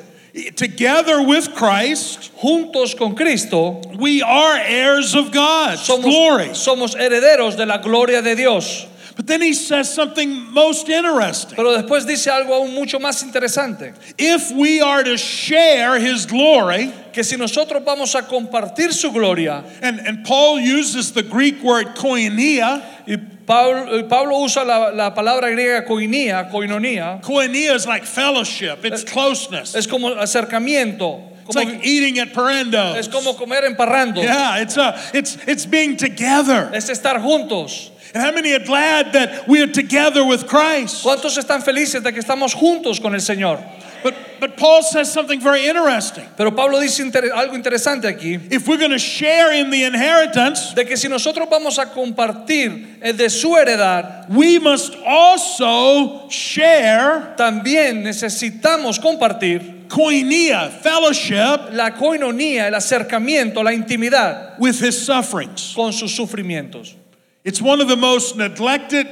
S2: Together with Christ,
S3: Juntos con Cristo
S2: we are heirs of God's glory.
S3: somos, somos herederos de la gloria de Dios.
S2: But then he says something most interesting.
S3: Pero después dice algo aún mucho más interesante,
S2: If we are to share his glory,
S3: que si nosotros vamos a compartir su gloria,
S2: and, and Paul uses the Greek word koinonia.
S3: y Pablo, eh, Pablo usa la, la palabra griega koinía, koinonía,
S2: Koinonia is like fellowship, it's closeness.
S3: es como acercamiento,
S2: It's
S3: como-
S2: like eating at Parendo.
S3: es como comer emparrando,
S2: Yeah, it's, a, it's, it's being together.
S3: es estar juntos.
S2: And how many are glad that we are together with Christ?
S3: ¿Cuántos están felices de que estamos juntos con el Señor?
S2: But, but Paul says something very interesting.
S3: Pero Pablo dice inter- algo interesante aquí,
S2: If we're going to share in the inheritance,
S3: de que si nosotros vamos a compartir eh, de su heredad,
S2: we must also share
S3: también necesitamos compartir
S2: koinonia, fellowship,
S3: la coinonía, el acercamiento, la intimidad.
S2: with his sufferings.
S3: con sus sufrimientos.
S2: It's one of the most neglected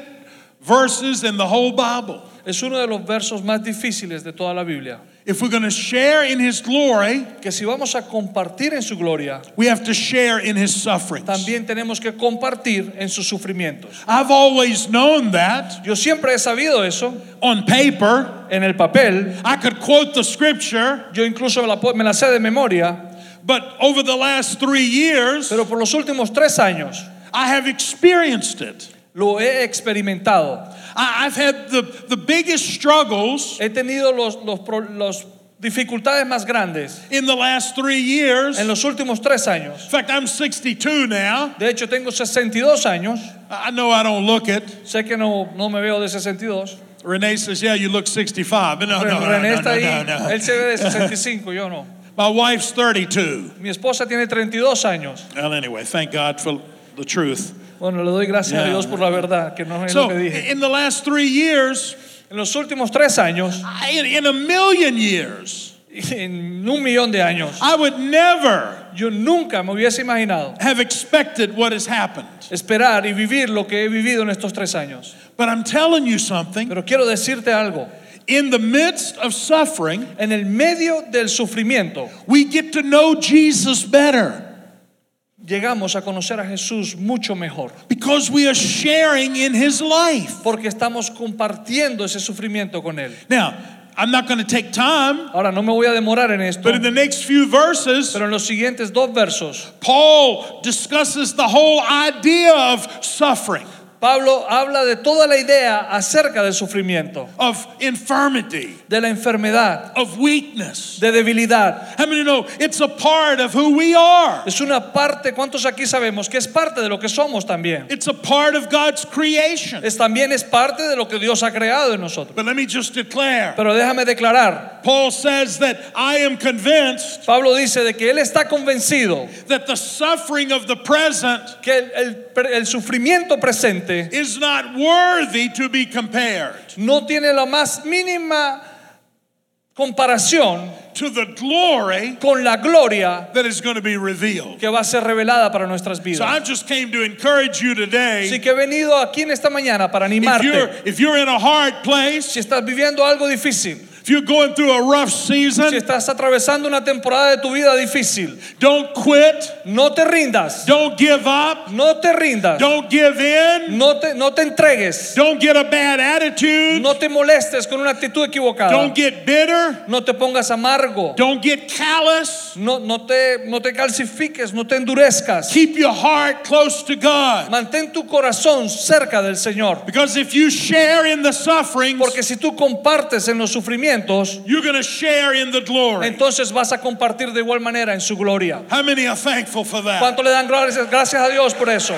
S2: verses in the whole Bible.
S3: Es uno de los versos más difíciles de toda la Biblia.
S2: If we're going to share in his glory,
S3: Que si vamos a compartir en su gloria,
S2: we have to share in his sufferings.
S3: también tenemos que compartir en sus sufrimientos.
S2: I've always known that
S3: Yo siempre he sabido eso
S2: on paper.
S3: en el papel.
S2: I could quote the scripture,
S3: Yo incluso me la, po- me la sé de memoria,
S2: but over the last three years,
S3: pero por los últimos tres años
S2: I have experienced it.
S3: lo he experimentado.
S2: I, I've had the, the biggest struggles
S3: He tenido los, los pro- los dificultades más grandes
S2: in the last three years.
S3: en
S2: In
S3: los últimos tres años.
S2: fact, I'm 62 now.
S3: De hecho, tengo 62 años.
S2: I I know I don't look it.
S3: Sé que no, no me veo de 62.
S2: Renee says, Yeah, you look 65. But no, no, no, no,
S3: René
S2: no,
S3: está ahí,
S2: no, no.
S3: él se ve de 65, yo no.
S2: My wife's 32.
S3: Mi esposa tiene 32 años.
S2: Well, anyway, thank God for the truth.
S3: Bueno, le doy gracias a
S2: Yeah.
S3: Dios por la verdad, que no es
S2: So, eh,
S3: lo que dije.
S2: in the last three years,
S3: En los últimos tres años,
S2: I- in, in a million years,
S3: en un millón de años,
S2: I would never
S3: yo nunca me hubiese imaginado
S2: have expected what has happened.
S3: esperar y vivir lo que he vivido en estos tres años.
S2: But I'm telling you something
S3: Pero quiero decirte algo,
S2: in the midst of suffering,
S3: en el medio del sufrimiento,
S2: we get to know Jesus better
S3: llegamos a conocer a Jesús mucho mejor,
S2: because we are sharing in his life.
S3: porque estamos compartiendo ese sufrimiento con Él.
S2: Now, I'm not going to take time,
S3: Ahora, no me voy a demorar en esto,
S2: but in the next few verses,
S3: pero en los siguientes dos versos
S2: Paul discusses the whole idea of suffering,
S3: Pablo habla de toda la idea acerca del sufrimiento,
S2: of infirmity,
S3: de la enfermedad,
S2: of weakness.
S3: de debilidad.
S2: How many know it's a part of who we are?
S3: Es una parte, ¿cuántos aquí sabemos que es parte de lo que somos también?
S2: It's a part of God's creation.
S3: Es también es parte de lo que Dios ha creado en nosotros.
S2: But let me just declare
S3: Pero déjame declarar,
S2: Paul says that I am convinced
S3: Pablo dice de que él está convencido
S2: that the suffering of the present
S3: que el, el- el sufrimiento presente
S2: is not worthy to be compared
S3: no tiene la más mínima comparación
S2: to the glory
S3: con la gloria
S2: that is going to be revealed.
S3: que va a ser revelada para nuestras
S2: So I
S3: vidas.
S2: just came to encourage you
S3: Así
S2: today.
S3: que he venido aquí en esta mañana para
S2: If you're,
S3: animarte.
S2: if you're in a hard place,
S3: Si estás viviendo algo difícil,
S2: if you're going through a rough
S3: si
S2: season,
S3: estás atravesando una temporada de tu vida difícil,
S2: don't quit,
S3: no te rindas,
S2: don't give up,
S3: no te rindas,
S2: don't give in,
S3: no te, no te entregues,
S2: don't get a bad attitude.
S3: no te molestes con una actitud equivocada,
S2: Don't get bitter.
S3: no te pongas amargo,
S2: Don't get callous.
S3: no, no, te, no te calcifiques, no te endurezcas,
S2: Keep your heart close to God.
S3: mantén tu corazón cerca del Señor,
S2: Because if you share in the sufferings,
S3: porque si tú compartes en los sufrimientos,
S2: you're going to share in the glory.
S3: entonces vas a compartir de igual manera en su gloria.
S2: How many are thankful for that?
S3: ¿Cuánto le dan gracias, gracias a Dios por eso?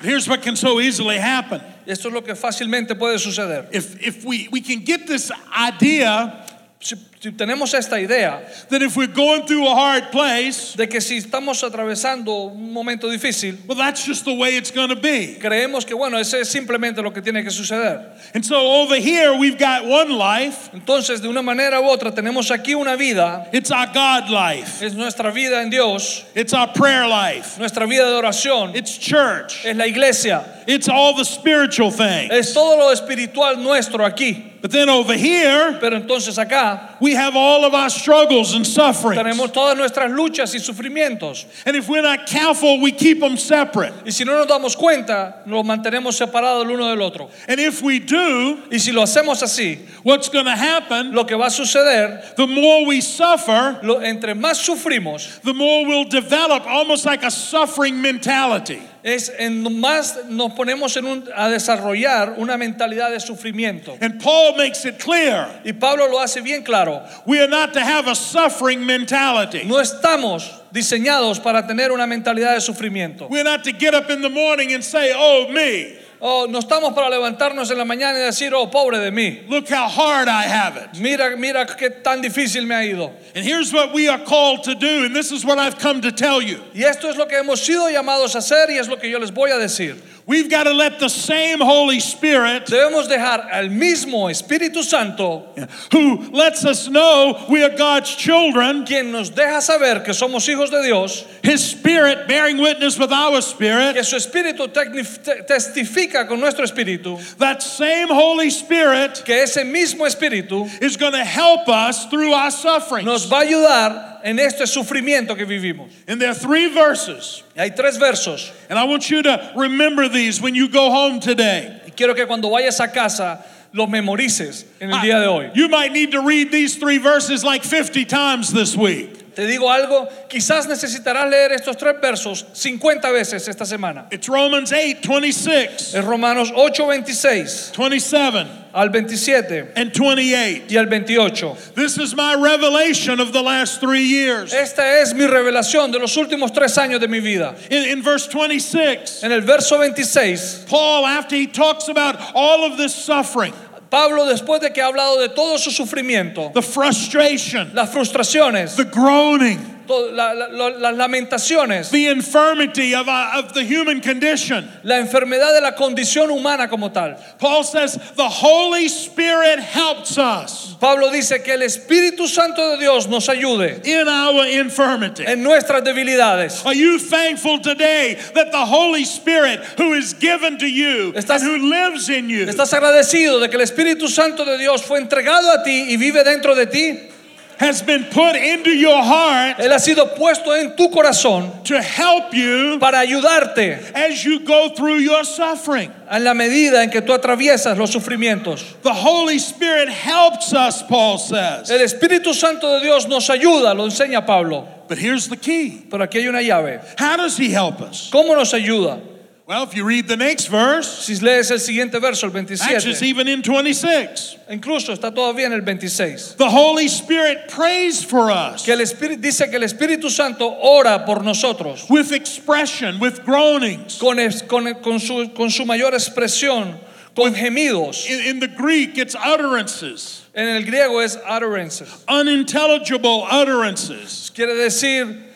S2: Here's what can so easily happen.
S3: Esto es lo que fácilmente puede suceder.
S2: If, if we, we can get this idea
S3: Si, si tenemos esta idea
S2: that if we're going through a hard place,
S3: de que si estamos atravesando un momento difícil,
S2: well, that's just the way it's going to be.
S3: creemos que bueno, ese es simplemente lo que tiene que suceder.
S2: And so over here, we've got one life.
S3: Entonces, de una manera u otra, tenemos aquí una vida,
S2: It's our God life.
S3: es nuestra vida en Dios,
S2: It's our prayer life.
S3: nuestra vida de oración,
S2: It's church.
S3: es la iglesia,
S2: It's all the spiritual things.
S3: es todo lo espiritual nuestro aquí.
S2: But then over here,
S3: Pero entonces acá
S2: we have all of our struggles and sufferings.
S3: tenemos todas nuestras luchas y sufrimientos.
S2: And if we're not careful, we keep them separate.
S3: Y si no nos damos cuenta, nos mantenemos separados el uno del otro.
S2: And if we do,
S3: Y si lo hacemos así,
S2: what's going to happen?
S3: lo que va a suceder,
S2: The more we suffer,
S3: lo- entre más sufrimos,
S2: the more we'll develop almost like a suffering mentality.
S3: es en más nos ponemos en un- a desarrollar una mentalidad de sufrimiento.
S2: And Paul makes it clear
S3: Y Pablo lo hace bien claro.
S2: we are not to have a suffering mentality.
S3: No estamos diseñados para tener una mentalidad de sufrimiento.
S2: We're not to get up in the morning and say, Oh, me,
S3: Oh, no estamos para levantarnos en la mañana y decir, oh, pobre de mí.
S2: look how hard I have it.
S3: Mira, mira qué tan difícil me ha ido.
S2: And here's what we are called to do, and this is what I've come to tell you.
S3: Y esto es lo que hemos sido llamados a hacer y es lo que yo les voy a decir.
S2: We've got to let the same Holy Spirit
S3: Debemos dejar al mismo Espíritu Santo
S2: who lets us know we are God's children,
S3: quien nos deja saber que somos hijos de Dios,
S2: His Spirit bearing witness with our
S3: que
S2: spirit,
S3: su Espíritu tecni- te- testifica con nuestro Espíritu,
S2: that same Holy Spirit
S3: que ese mismo Espíritu
S2: is going to help us through our suffering.
S3: nos va a ayudar en este sufrimiento que vivimos.
S2: And there are three verses,
S3: Y hay tres versos.
S2: and I want you to remember these when you go home today.
S3: Y quiero que cuando vayas a casa los memorices en
S2: Ah.
S3: el día de hoy.
S2: You might need to read these three verses like 50 times this week.
S3: Te digo algo, quizás necesitarás leer estos tres versos 50 veces esta semana.
S2: It's Romans 8, 26,
S3: Es Romanos 8, 26
S2: 27,
S3: al 27
S2: and 28.
S3: y al 28.
S2: This is my revelation of the last three years.
S3: Esta es mi revelación de los últimos tres años de mi vida.
S2: In, in verse 26,
S3: En el verso 26,
S2: Paul, after he talks about all of this suffering,
S3: Pablo, después de que ha hablado de todo su sufrimiento,
S2: the frustration,
S3: las frustraciones,
S2: the groaning,
S3: to- la- la- lo- las lamentaciones,
S2: the infirmity of, uh, of the human condition,
S3: la enfermedad de la condición humana como tal,
S2: Paul says the Holy Spirit helps us
S3: Pablo dice que el Espíritu Santo de Dios nos ayude
S2: in our infirmity.
S3: en nuestras debilidades.
S2: Are you thankful today that the Holy Spirit, who is given to you
S3: Estás-
S2: and who lives in you,
S3: ¿Estás agradecido de que el Espíritu Santo de Dios fue entregado a ti y vive dentro de ti?
S2: has been put into your heart
S3: Él ha sido puesto en tu corazón
S2: to help you
S3: para ayudarte
S2: as you go through your suffering?
S3: en la medida en que tú atraviesas los sufrimientos.
S2: The Holy Spirit helps us, Paul says.
S3: El Espíritu Santo de Dios nos ayuda, lo enseña Pablo.
S2: But here's the key
S3: Pero aquí hay una llave.
S2: how does He help us?
S3: ¿Cómo nos ayuda?
S2: Well, if you read the next verse,
S3: Si lees el siguiente verso, el
S2: actually, it's
S3: 27,
S2: even in 26.
S3: incluso está todavía en el 26,
S2: The Holy Spirit prays for us
S3: que el Espíritu dice que el Espíritu Santo ora por nosotros
S2: with expression, with groanings.
S3: con, es- con- con su, con su mayor expresión, con gemidos.
S2: In, in the Greek, it's utterances,
S3: En el griego es utterances.
S2: unintelligible utterances.
S3: Quiere decir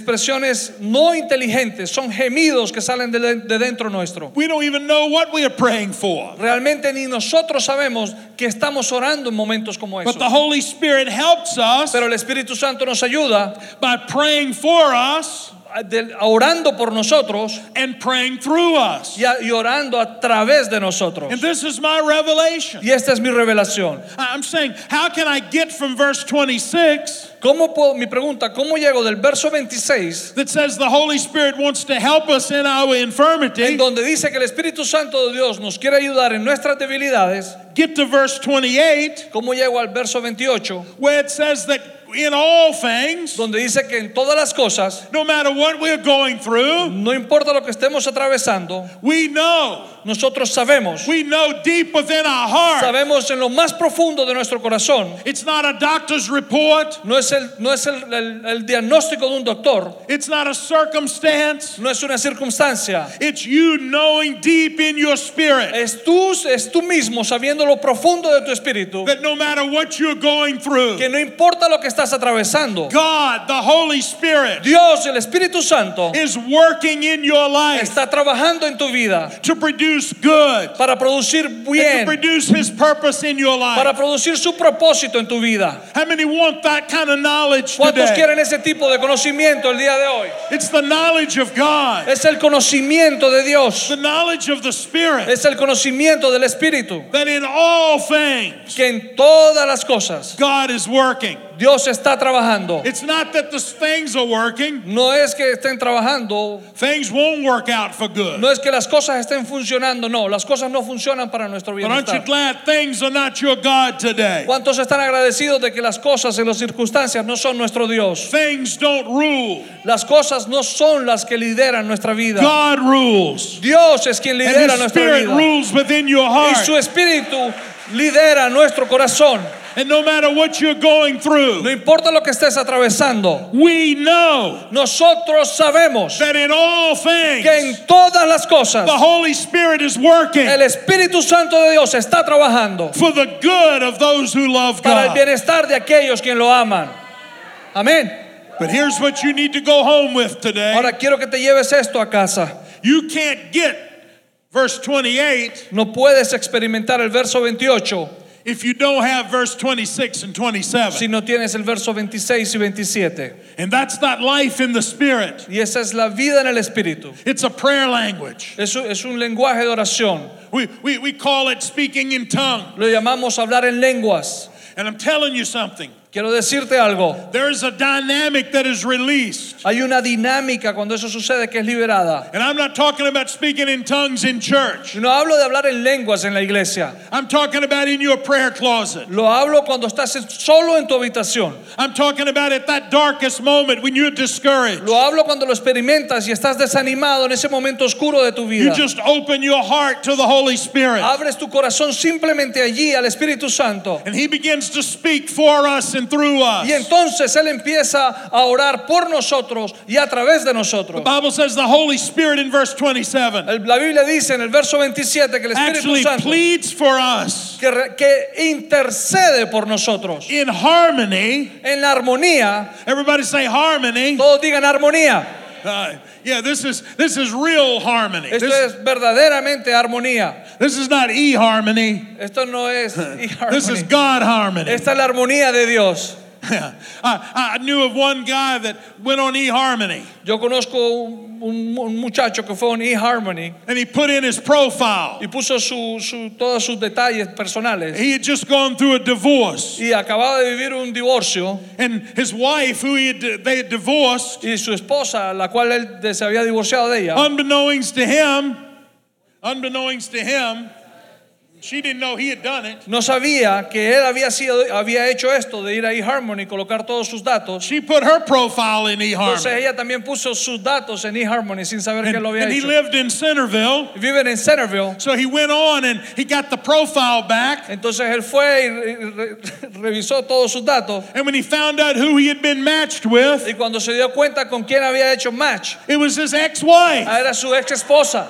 S3: expresiones no inteligentes, son gemidos que salen de, de dentro nuestro.
S2: We don't even know what we are praying for.
S3: Realmente ni nosotros sabemos que estamos orando en momentos como
S2: But
S3: esos.
S2: the Holy Spirit helps us
S3: Pero el Espíritu Santo nos ayuda
S2: by praying for us
S3: a- de- a orando por nosotros
S2: and praying through us.
S3: y, a- y orando a través de nosotros.
S2: And this is my revelation.
S3: Y esta es mi revelación.
S2: I'm saying, how can I get from verse 26
S3: ¿Cómo puedo, mi pregunta, ¿cómo llego del verso 26,
S2: that says the Holy Spirit wants to help us in our
S3: en
S2: infirmity,
S3: donde dice que el Espíritu Santo de Dios nos quiere ayudar en nuestras debilidades,
S2: get to verse 28
S3: cómo llego al verso 28,
S2: where it says that in all things,
S3: donde dice que en todas las cosas,
S2: no matter what we're going through,
S3: no importa lo que estemos atravesando,
S2: we know,
S3: nosotros sabemos,
S2: we know deep within our heart.
S3: sabemos en lo más profundo de nuestro corazón,
S2: It's not a doctor's report,
S3: no es el, no es el- el- el diagnóstico de un doctor,
S2: it's not a circumstance,
S3: no es una circunstancia.
S2: it's you knowing deep in your spirit
S3: Es tú, es tú mismo sabiendo lo profundo de tu espíritu,
S2: that no matter what you're going through,
S3: que no importa lo que estás atravesando,
S2: God, the Holy Spirit,
S3: Dios, el Espíritu Santo,
S2: is working in your life
S3: está trabajando en tu vida
S2: to produce good,
S3: para producir
S2: and to
S3: bien,
S2: produce His purpose in your
S3: para
S2: life.
S3: producir su propósito en tu vida.
S2: How many want that kind of knowledge
S3: ¿Cuántos
S2: today?
S3: quieren ese tipo de conocimiento el día de hoy?
S2: It's the knowledge of God,
S3: Es el conocimiento de Dios,
S2: the knowledge of the Spirit,
S3: es el conocimiento del Espíritu,
S2: that in all things
S3: que en todas las cosas
S2: God is working.
S3: Dios está trabajando.
S2: It's not that the things are working,
S3: No es que estén trabajando,
S2: things won't work out for good.
S3: no es que las cosas estén funcionando, no, las cosas no funcionan para nuestro
S2: But aren't you
S3: bienestar.
S2: glad things are not your God today?
S3: ¿Cuántos están agradecidos de que las cosas y las circunstancias no son nuestro Dios?
S2: Things don't rule,
S3: Las cosas no son las que lideran nuestra vida.
S2: God rules.
S3: Dios es quien
S2: And
S3: lidera
S2: His
S3: nuestra
S2: Spirit
S3: vida.
S2: rules within your
S3: Y
S2: heart.
S3: su espíritu lidera nuestro corazón.
S2: And no matter what you're going through,
S3: No importa lo que estés atravesando,
S2: we know
S3: nosotros sabemos
S2: that in all
S3: que
S2: things
S3: en todas las cosas
S2: the Holy Spirit is working
S3: el Espíritu Santo de Dios está trabajando
S2: for the good of those who love
S3: para el
S2: God.
S3: bienestar de aquellos quien lo aman. Amén.
S2: But here's what you need to go home with today.
S3: Ahora quiero que te lleves esto a casa.
S2: You can't get verse 28
S3: No puedes experimentar el verso 28
S2: if you don't have verse 26 and 27.
S3: si no tienes el verso 26 y 27.
S2: And that's not life in the Spirit,
S3: Y esa es la vida en el Espíritu.
S2: it's a prayer language.
S3: Es, un- es un lenguaje de oración.
S2: We, we, we call it speaking in tongue.
S3: Lo llamamos hablar en lenguas.
S2: And I'm telling you something
S3: Quiero decirte algo.
S2: there is a dynamic that is released.
S3: Hay una dinámica cuando eso sucede que es liberada.
S2: And I'm not talking about speaking in tongues in church.
S3: Y no hablo de hablar en lenguas en la iglesia.
S2: I'm talking about in your prayer closet.
S3: Lo hablo cuando estás en- solo en tu habitación.
S2: I'm talking about at that darkest moment when you're discouraged.
S3: Lo hablo cuando lo experimentas y estás desanimado en ese momento oscuro de tu
S2: You
S3: vida.
S2: just open your heart to the Holy Spirit.
S3: Abres tu corazón simplemente allí al Espíritu Santo.
S2: And He begins to speak for us and through
S3: Y
S2: us.
S3: entonces Él empieza a orar por nosotros y a través de
S2: The
S3: nosotros.
S2: Bible says the Holy Spirit in verse 27
S3: El- La Biblia dice en el verso 27 que el Espíritu
S2: actually
S3: Santo
S2: pleads for us
S3: que, re- que intercede por nosotros
S2: in harmony.
S3: en la armonía.
S2: Everybody say harmony.
S3: Todos digan armonía.
S2: Uh, yeah, this is this is real harmony.
S3: Esto
S2: This,
S3: es verdaderamente armonía.
S2: this is not e harmony.
S3: Esto no es
S2: This is
S3: e-harmony.
S2: God harmony.
S3: Esta es la armonía de Dios.
S2: I, I knew of one guy that went on eHarmony
S3: Yo conozco un, un- un muchacho que fue a un eHarmony
S2: and he put in his profile.
S3: y puso su, su- todos sus detalles personales
S2: He had just gone through a divorce
S3: y acababa de vivir un divorcio
S2: and his wife, who he had, they had divorced,
S3: y su esposa, la cual él de- se había divorciado de
S2: Oh,
S3: ella,
S2: unbeknownst to him, unbeknownst to him, she didn't know he had done it.
S3: no sabía que él había, sido, había hecho esto de ir a eHarmony y colocar todos sus datos.
S2: She put her profile in
S3: Entonces
S2: eHarmony.
S3: ella también puso sus datos en eHarmony sin saber que
S2: And,
S3: lo había
S2: and he
S3: hecho.
S2: lived in Centerville.
S3: Viven en Centerville.
S2: So he went on and he got the profile back.
S3: Entonces él fue y re- re- revisó todos sus datos
S2: And when he found out who he had been matched with,
S3: y cuando se dio cuenta con quién había hecho match, ah,
S2: it was his ex wife.
S3: era su ex esposa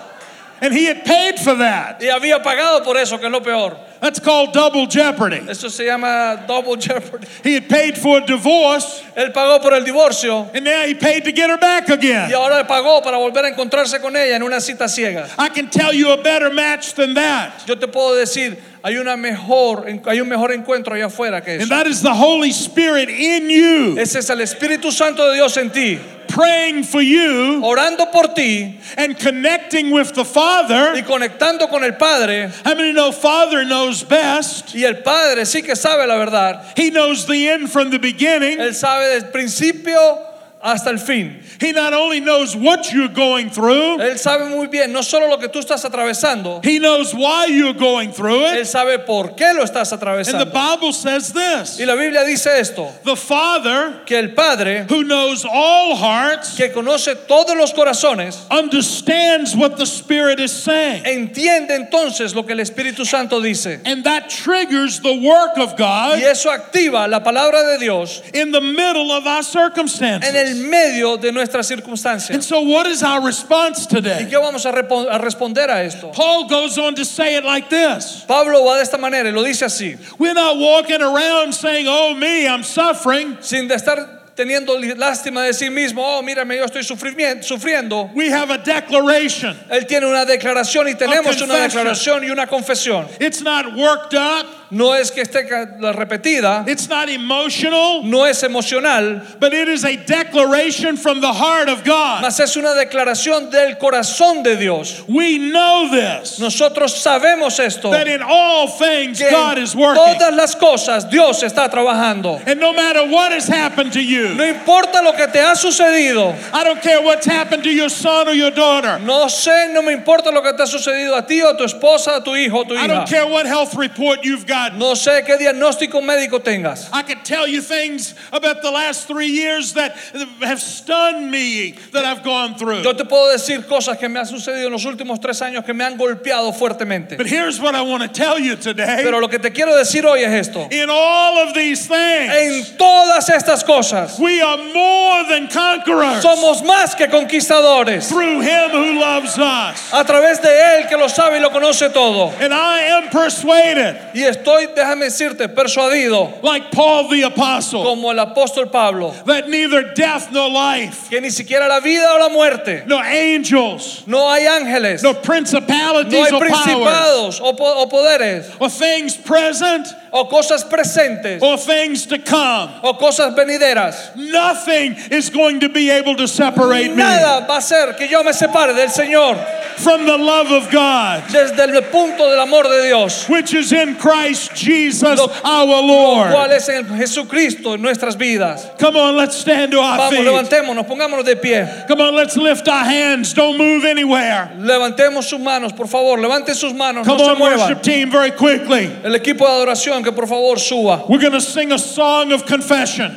S2: And he had paid for that.
S3: y había pagado por eso, que es lo peor.
S2: That's called double jeopardy.
S3: Eso se llama double jeopardy.
S2: He had paid for a divorce,
S3: Él pagó por el divorcio
S2: and now he paid to get her back
S3: y
S2: again.
S3: ahora le pagó para volver a encontrarse con ella en una cita ciega.
S2: I can tell you a better match than that.
S3: Yo te puedo decir, hay una mejor, hay un mejor encuentro allá afuera que eso.
S2: And that is the Holy Spirit in you,
S3: Ese es el Espíritu Santo de Dios en ti,
S2: praying for you
S3: orando por ti
S2: and connecting with the
S3: y
S2: Father.
S3: conectando con el Padre.
S2: How many know Father knows best?
S3: Y el Padre sí que sabe la verdad.
S2: He knows the end from the beginning.
S3: Él sabe del principio hasta el fin.
S2: He not only knows what you're going through,
S3: Él sabe muy bien no solo lo que tú estás atravesando,
S2: He knows why you're going through
S3: Él
S2: it.
S3: sabe por qué lo estás
S2: And the
S3: atravesando.
S2: Bible says this
S3: Y la Biblia dice esto,
S2: The Father,
S3: que el Padre,
S2: who knows all hearts,
S3: que conoce todos los corazones,
S2: understands what the Spirit is saying.
S3: entiende entonces lo que el Espíritu Santo dice.
S2: And that triggers the work of
S3: Y
S2: God
S3: eso activa la palabra de Dios
S2: in the middle of our
S3: en el
S2: circumstances.
S3: medio de nuestras
S2: And
S3: circunstancias.
S2: so, what is our response
S3: ¿Y
S2: today?
S3: qué vamos a, repo- a responder a esto?
S2: Paul goes on to say it like this
S3: Pablo va de esta manera y lo dice así,
S2: We're not walking around saying, Oh, me, I'm suffering.
S3: sin de estar teniendo li- lástima de sí mismo, oh, mírame, yo estoy sufrimi- sufriendo.
S2: We have a declaration.
S3: Él tiene una declaración y tenemos una
S2: confession.
S3: declaración y una confesión.
S2: It's not worked up,
S3: No es que esté ca- la repetida,
S2: it's not emotional,
S3: no es emocional,
S2: but it is a declaration from the heart of God.
S3: mas es una declaración del corazón de Dios.
S2: We know this
S3: Nosotros sabemos esto,
S2: that in all things
S3: que
S2: God
S3: en
S2: is working.
S3: todas las cosas Dios está trabajando.
S2: And no matter what has happened to you,
S3: No importa lo que te ha sucedido,
S2: I don't care what's happened to your son or your daughter.
S3: no sé, no me importa lo que te ha sucedido a ti o a tu esposa, a tu hijo o tu
S2: I
S3: hija.
S2: don't care what health report you've gotten.
S3: No sé qué diagnóstico médico tengas.
S2: I could tell you things about the last three years that have stunned me that I've gone through.
S3: Yo te puedo decir cosas que me han sucedido en los últimos tres años que me han golpeado fuertemente.
S2: But here's what I want to tell you today.
S3: Pero lo que te quiero decir hoy es esto.
S2: In all of these things,
S3: En todas estas cosas
S2: we are more than conquerors
S3: somos más que conquistadores.
S2: through Him who loves us.
S3: A través de Él que lo sabe y lo conoce todo.
S2: And I am persuaded,
S3: Y estoy, déjame decirte, persuadido
S2: like Paul the Apostle,
S3: como el apóstol Pablo,
S2: that neither death nor life,
S3: que ni siquiera la vida o la muerte,
S2: nor angels,
S3: no hay ángeles,
S2: nor
S3: no
S2: principalities
S3: hay
S2: or powers,
S3: principados o, po- o poderes,
S2: or things present
S3: o cosas presentes,
S2: or things to come.
S3: o cosas venideras.
S2: Nothing is going to be able to separate me
S3: Nada va a ser que yo me separe del Señor
S2: from the love of God,
S3: desde el punto del amor de Dios,
S2: which is in Christ Jesus
S3: Lo-
S2: our Lord.
S3: cuál es en Jesucristo en nuestras vidas.
S2: Come on, let's stand to our
S3: Vamos,
S2: feet.
S3: levantémonos, pongámonos de pie.
S2: Come on, let's lift our hands. Don't move anywhere.
S3: Levantemos sus manos, por favor, levanten sus manos,
S2: Come
S3: no se
S2: on,
S3: muevan.
S2: worship team, very quickly.
S3: El equipo de adoración que por favor suba.
S2: We're going to sing a song of confession.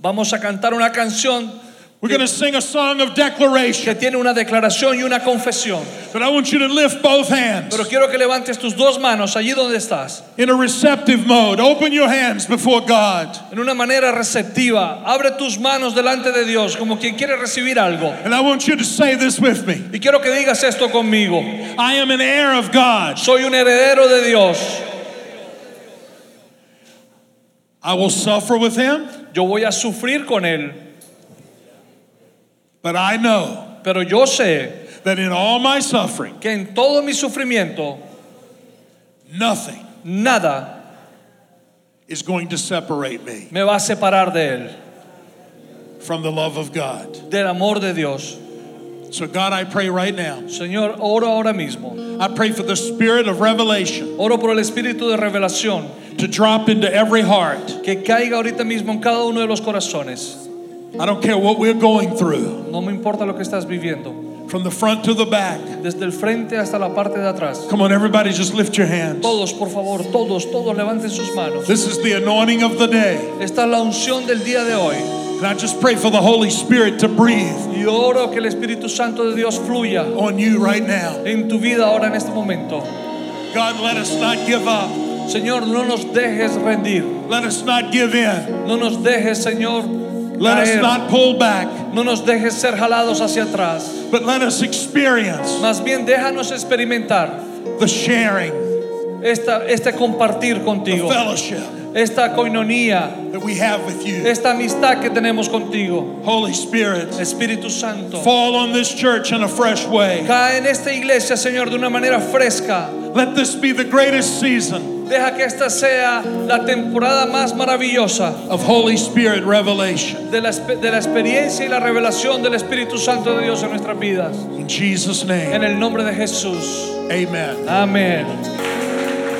S3: Vamos a cantar una canción
S2: We're going to sing a song of
S3: que
S2: declaration.
S3: tiene una declaración y una confesión.
S2: But I want you to lift both hands
S3: Pero quiero que levantes tus dos manos allí donde estás,
S2: in a receptive mode. Open your hands before God.
S3: en una manera receptiva. Abre tus manos delante de Dios como quien quiere recibir algo.
S2: And I want you to say this with me
S3: Y quiero que digas esto conmigo.
S2: I am an heir of God.
S3: Soy un heredero de Dios.
S2: I will suffer with him,
S3: Yo voy a sufrir con Él,
S2: but I know
S3: pero yo sé
S2: that in all my suffering,
S3: que en todo mi sufrimiento
S2: nothing
S3: nada
S2: is going to separate me
S3: me va a separar de Él,
S2: from the love of God.
S3: del amor de Dios.
S2: So, God, I pray right now.
S3: Señor, oro ahora mismo.
S2: I pray for the spirit of revelation
S3: Oro por el espíritu de revelación
S2: to drop into every heart.
S3: que caiga ahorita mismo en cada uno de los corazones.
S2: I don't care what we're going through,
S3: No me importa lo que estás viviendo,
S2: from the front to the back.
S3: desde el frente hasta la parte de atrás.
S2: Come on, everybody, just lift your hands.
S3: Todos, por favor, todos, todos levanten sus manos.
S2: This is the anointing of the day.
S3: Esta es la unción del día de hoy.
S2: And I just pray for the Holy Spirit to breathe
S3: Y oro que el Espíritu Santo de Dios fluya
S2: on you right now.
S3: en tu vida ahora en este momento.
S2: God, let us not give up.
S3: Señor, no nos dejes rendir.
S2: Let us not give in.
S3: No nos dejes, Señor,
S2: Let us
S3: caer.
S2: not pull back,
S3: no nos dejes ser jalados hacia atrás.
S2: but let us experience
S3: Más bien, déjanos experimentar
S2: the sharing,
S3: esta, este compartir
S2: the
S3: contigo,
S2: fellowship
S3: esta coinonía,
S2: that we have with you.
S3: esta amistad que tenemos contigo.
S2: Holy Spirit,
S3: Espíritu Santo,
S2: fall on this church in a fresh way.
S3: cae en esta iglesia, Señor, de una manera fresca.
S2: Let this be the greatest season
S3: Deja que esta sea la temporada más maravillosa.
S2: of Holy Spirit revelation.
S3: de la, espe- de la experiencia y la revelación del Espíritu Santo de Dios en nuestras vidas.
S2: In Jesus'
S3: En
S2: name,
S3: el nombre de Jesús.
S2: amen.
S3: Amén.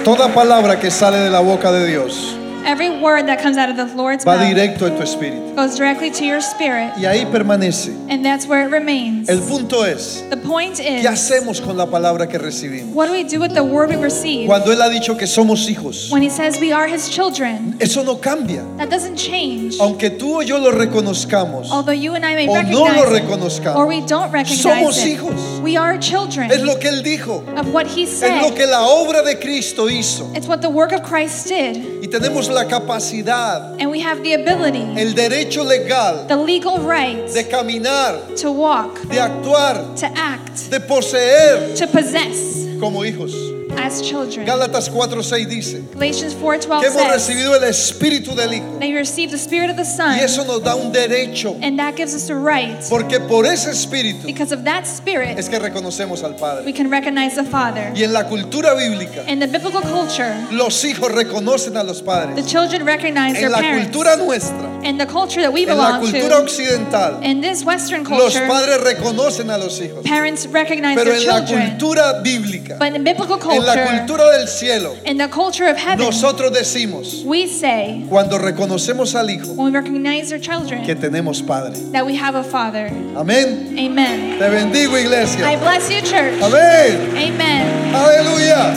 S5: Toda palabra que sale de la boca de Dios Every word that comes out of the Lord's
S6: va
S5: mouth
S6: directo a tu espíritu.
S5: goes directly to your spirit,
S6: Y ahí permanece.
S5: and that's where it remains.
S6: El punto es,
S5: The point
S6: ¿qué
S5: is,
S6: hacemos con la palabra que recibimos?
S5: what do we do with the word we receive?
S6: Cuando Él ha dicho que somos hijos,
S5: When He says we are His children,
S6: eso no cambia.
S5: that doesn't change.
S6: Aunque tú o yo lo reconozcamos,
S5: Although you and I may
S6: O no lo
S5: recognize it,
S6: reconozcamos.
S5: or we don't recognize
S6: Somos
S5: it,
S6: hijos.
S5: we are children
S6: es lo que Él dijo,
S5: of what He
S6: es lo
S5: said.
S6: que la obra de Cristo hizo.
S5: It's what the work of Christ did,
S6: Y tenemos la capacidad,
S5: and we have the ability,
S6: el derecho legal
S5: the legal right
S6: de caminar,
S5: to walk,
S6: de actuar,
S5: to act,
S6: de poseer
S5: to possess
S6: como hijos.
S5: as children.
S6: Gálatas 4:6 dice
S5: Galatians
S6: que
S5: 4:12
S6: hemos
S5: says
S6: recibido el espíritu del Hijo
S5: that you receive the Spirit of the
S6: y
S5: Son,
S6: eso nos da un derecho,
S5: and that gives us a right.
S6: porque por ese espíritu
S5: Because of that Spirit,
S6: es que reconocemos al
S5: we
S6: Padre.
S5: can recognize the Father.
S6: Y en la cultura bíblica
S5: In the biblical culture,
S6: los hijos reconocen a los
S5: the
S6: padres.
S5: children recognize
S6: En
S5: their
S6: la
S5: parents.
S6: cultura nuestra,
S5: In the culture that we
S6: en la
S5: belong
S6: cultura
S5: to,
S6: occidental,
S5: in this Western
S6: los
S5: culture,
S6: padres reconocen a los hijos.
S5: parents recognize
S6: Pero
S5: their
S6: en la
S5: children.
S6: cultura bíblica,
S5: But in biblical
S6: en la
S5: culture,
S6: cultura del cielo,
S5: in the culture of heaven,
S6: nosotros decimos,
S5: we say,
S6: cuando reconocemos al Hijo,
S5: when we recognize our
S6: que
S5: children,
S6: tenemos Padre.
S5: that we have a Father.
S6: Amén.
S5: Amen.
S6: Te bendigo,
S5: I
S6: iglesia.
S5: bless you, church.
S6: Amén.
S5: Amen.
S6: Aleluya.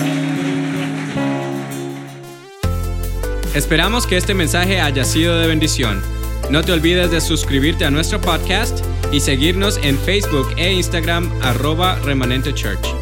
S1: Esperamos que este mensaje haya sido de bendición. No te olvides de suscribirte a nuestro podcast y seguirnos en Facebook e Instagram arroba remanente church.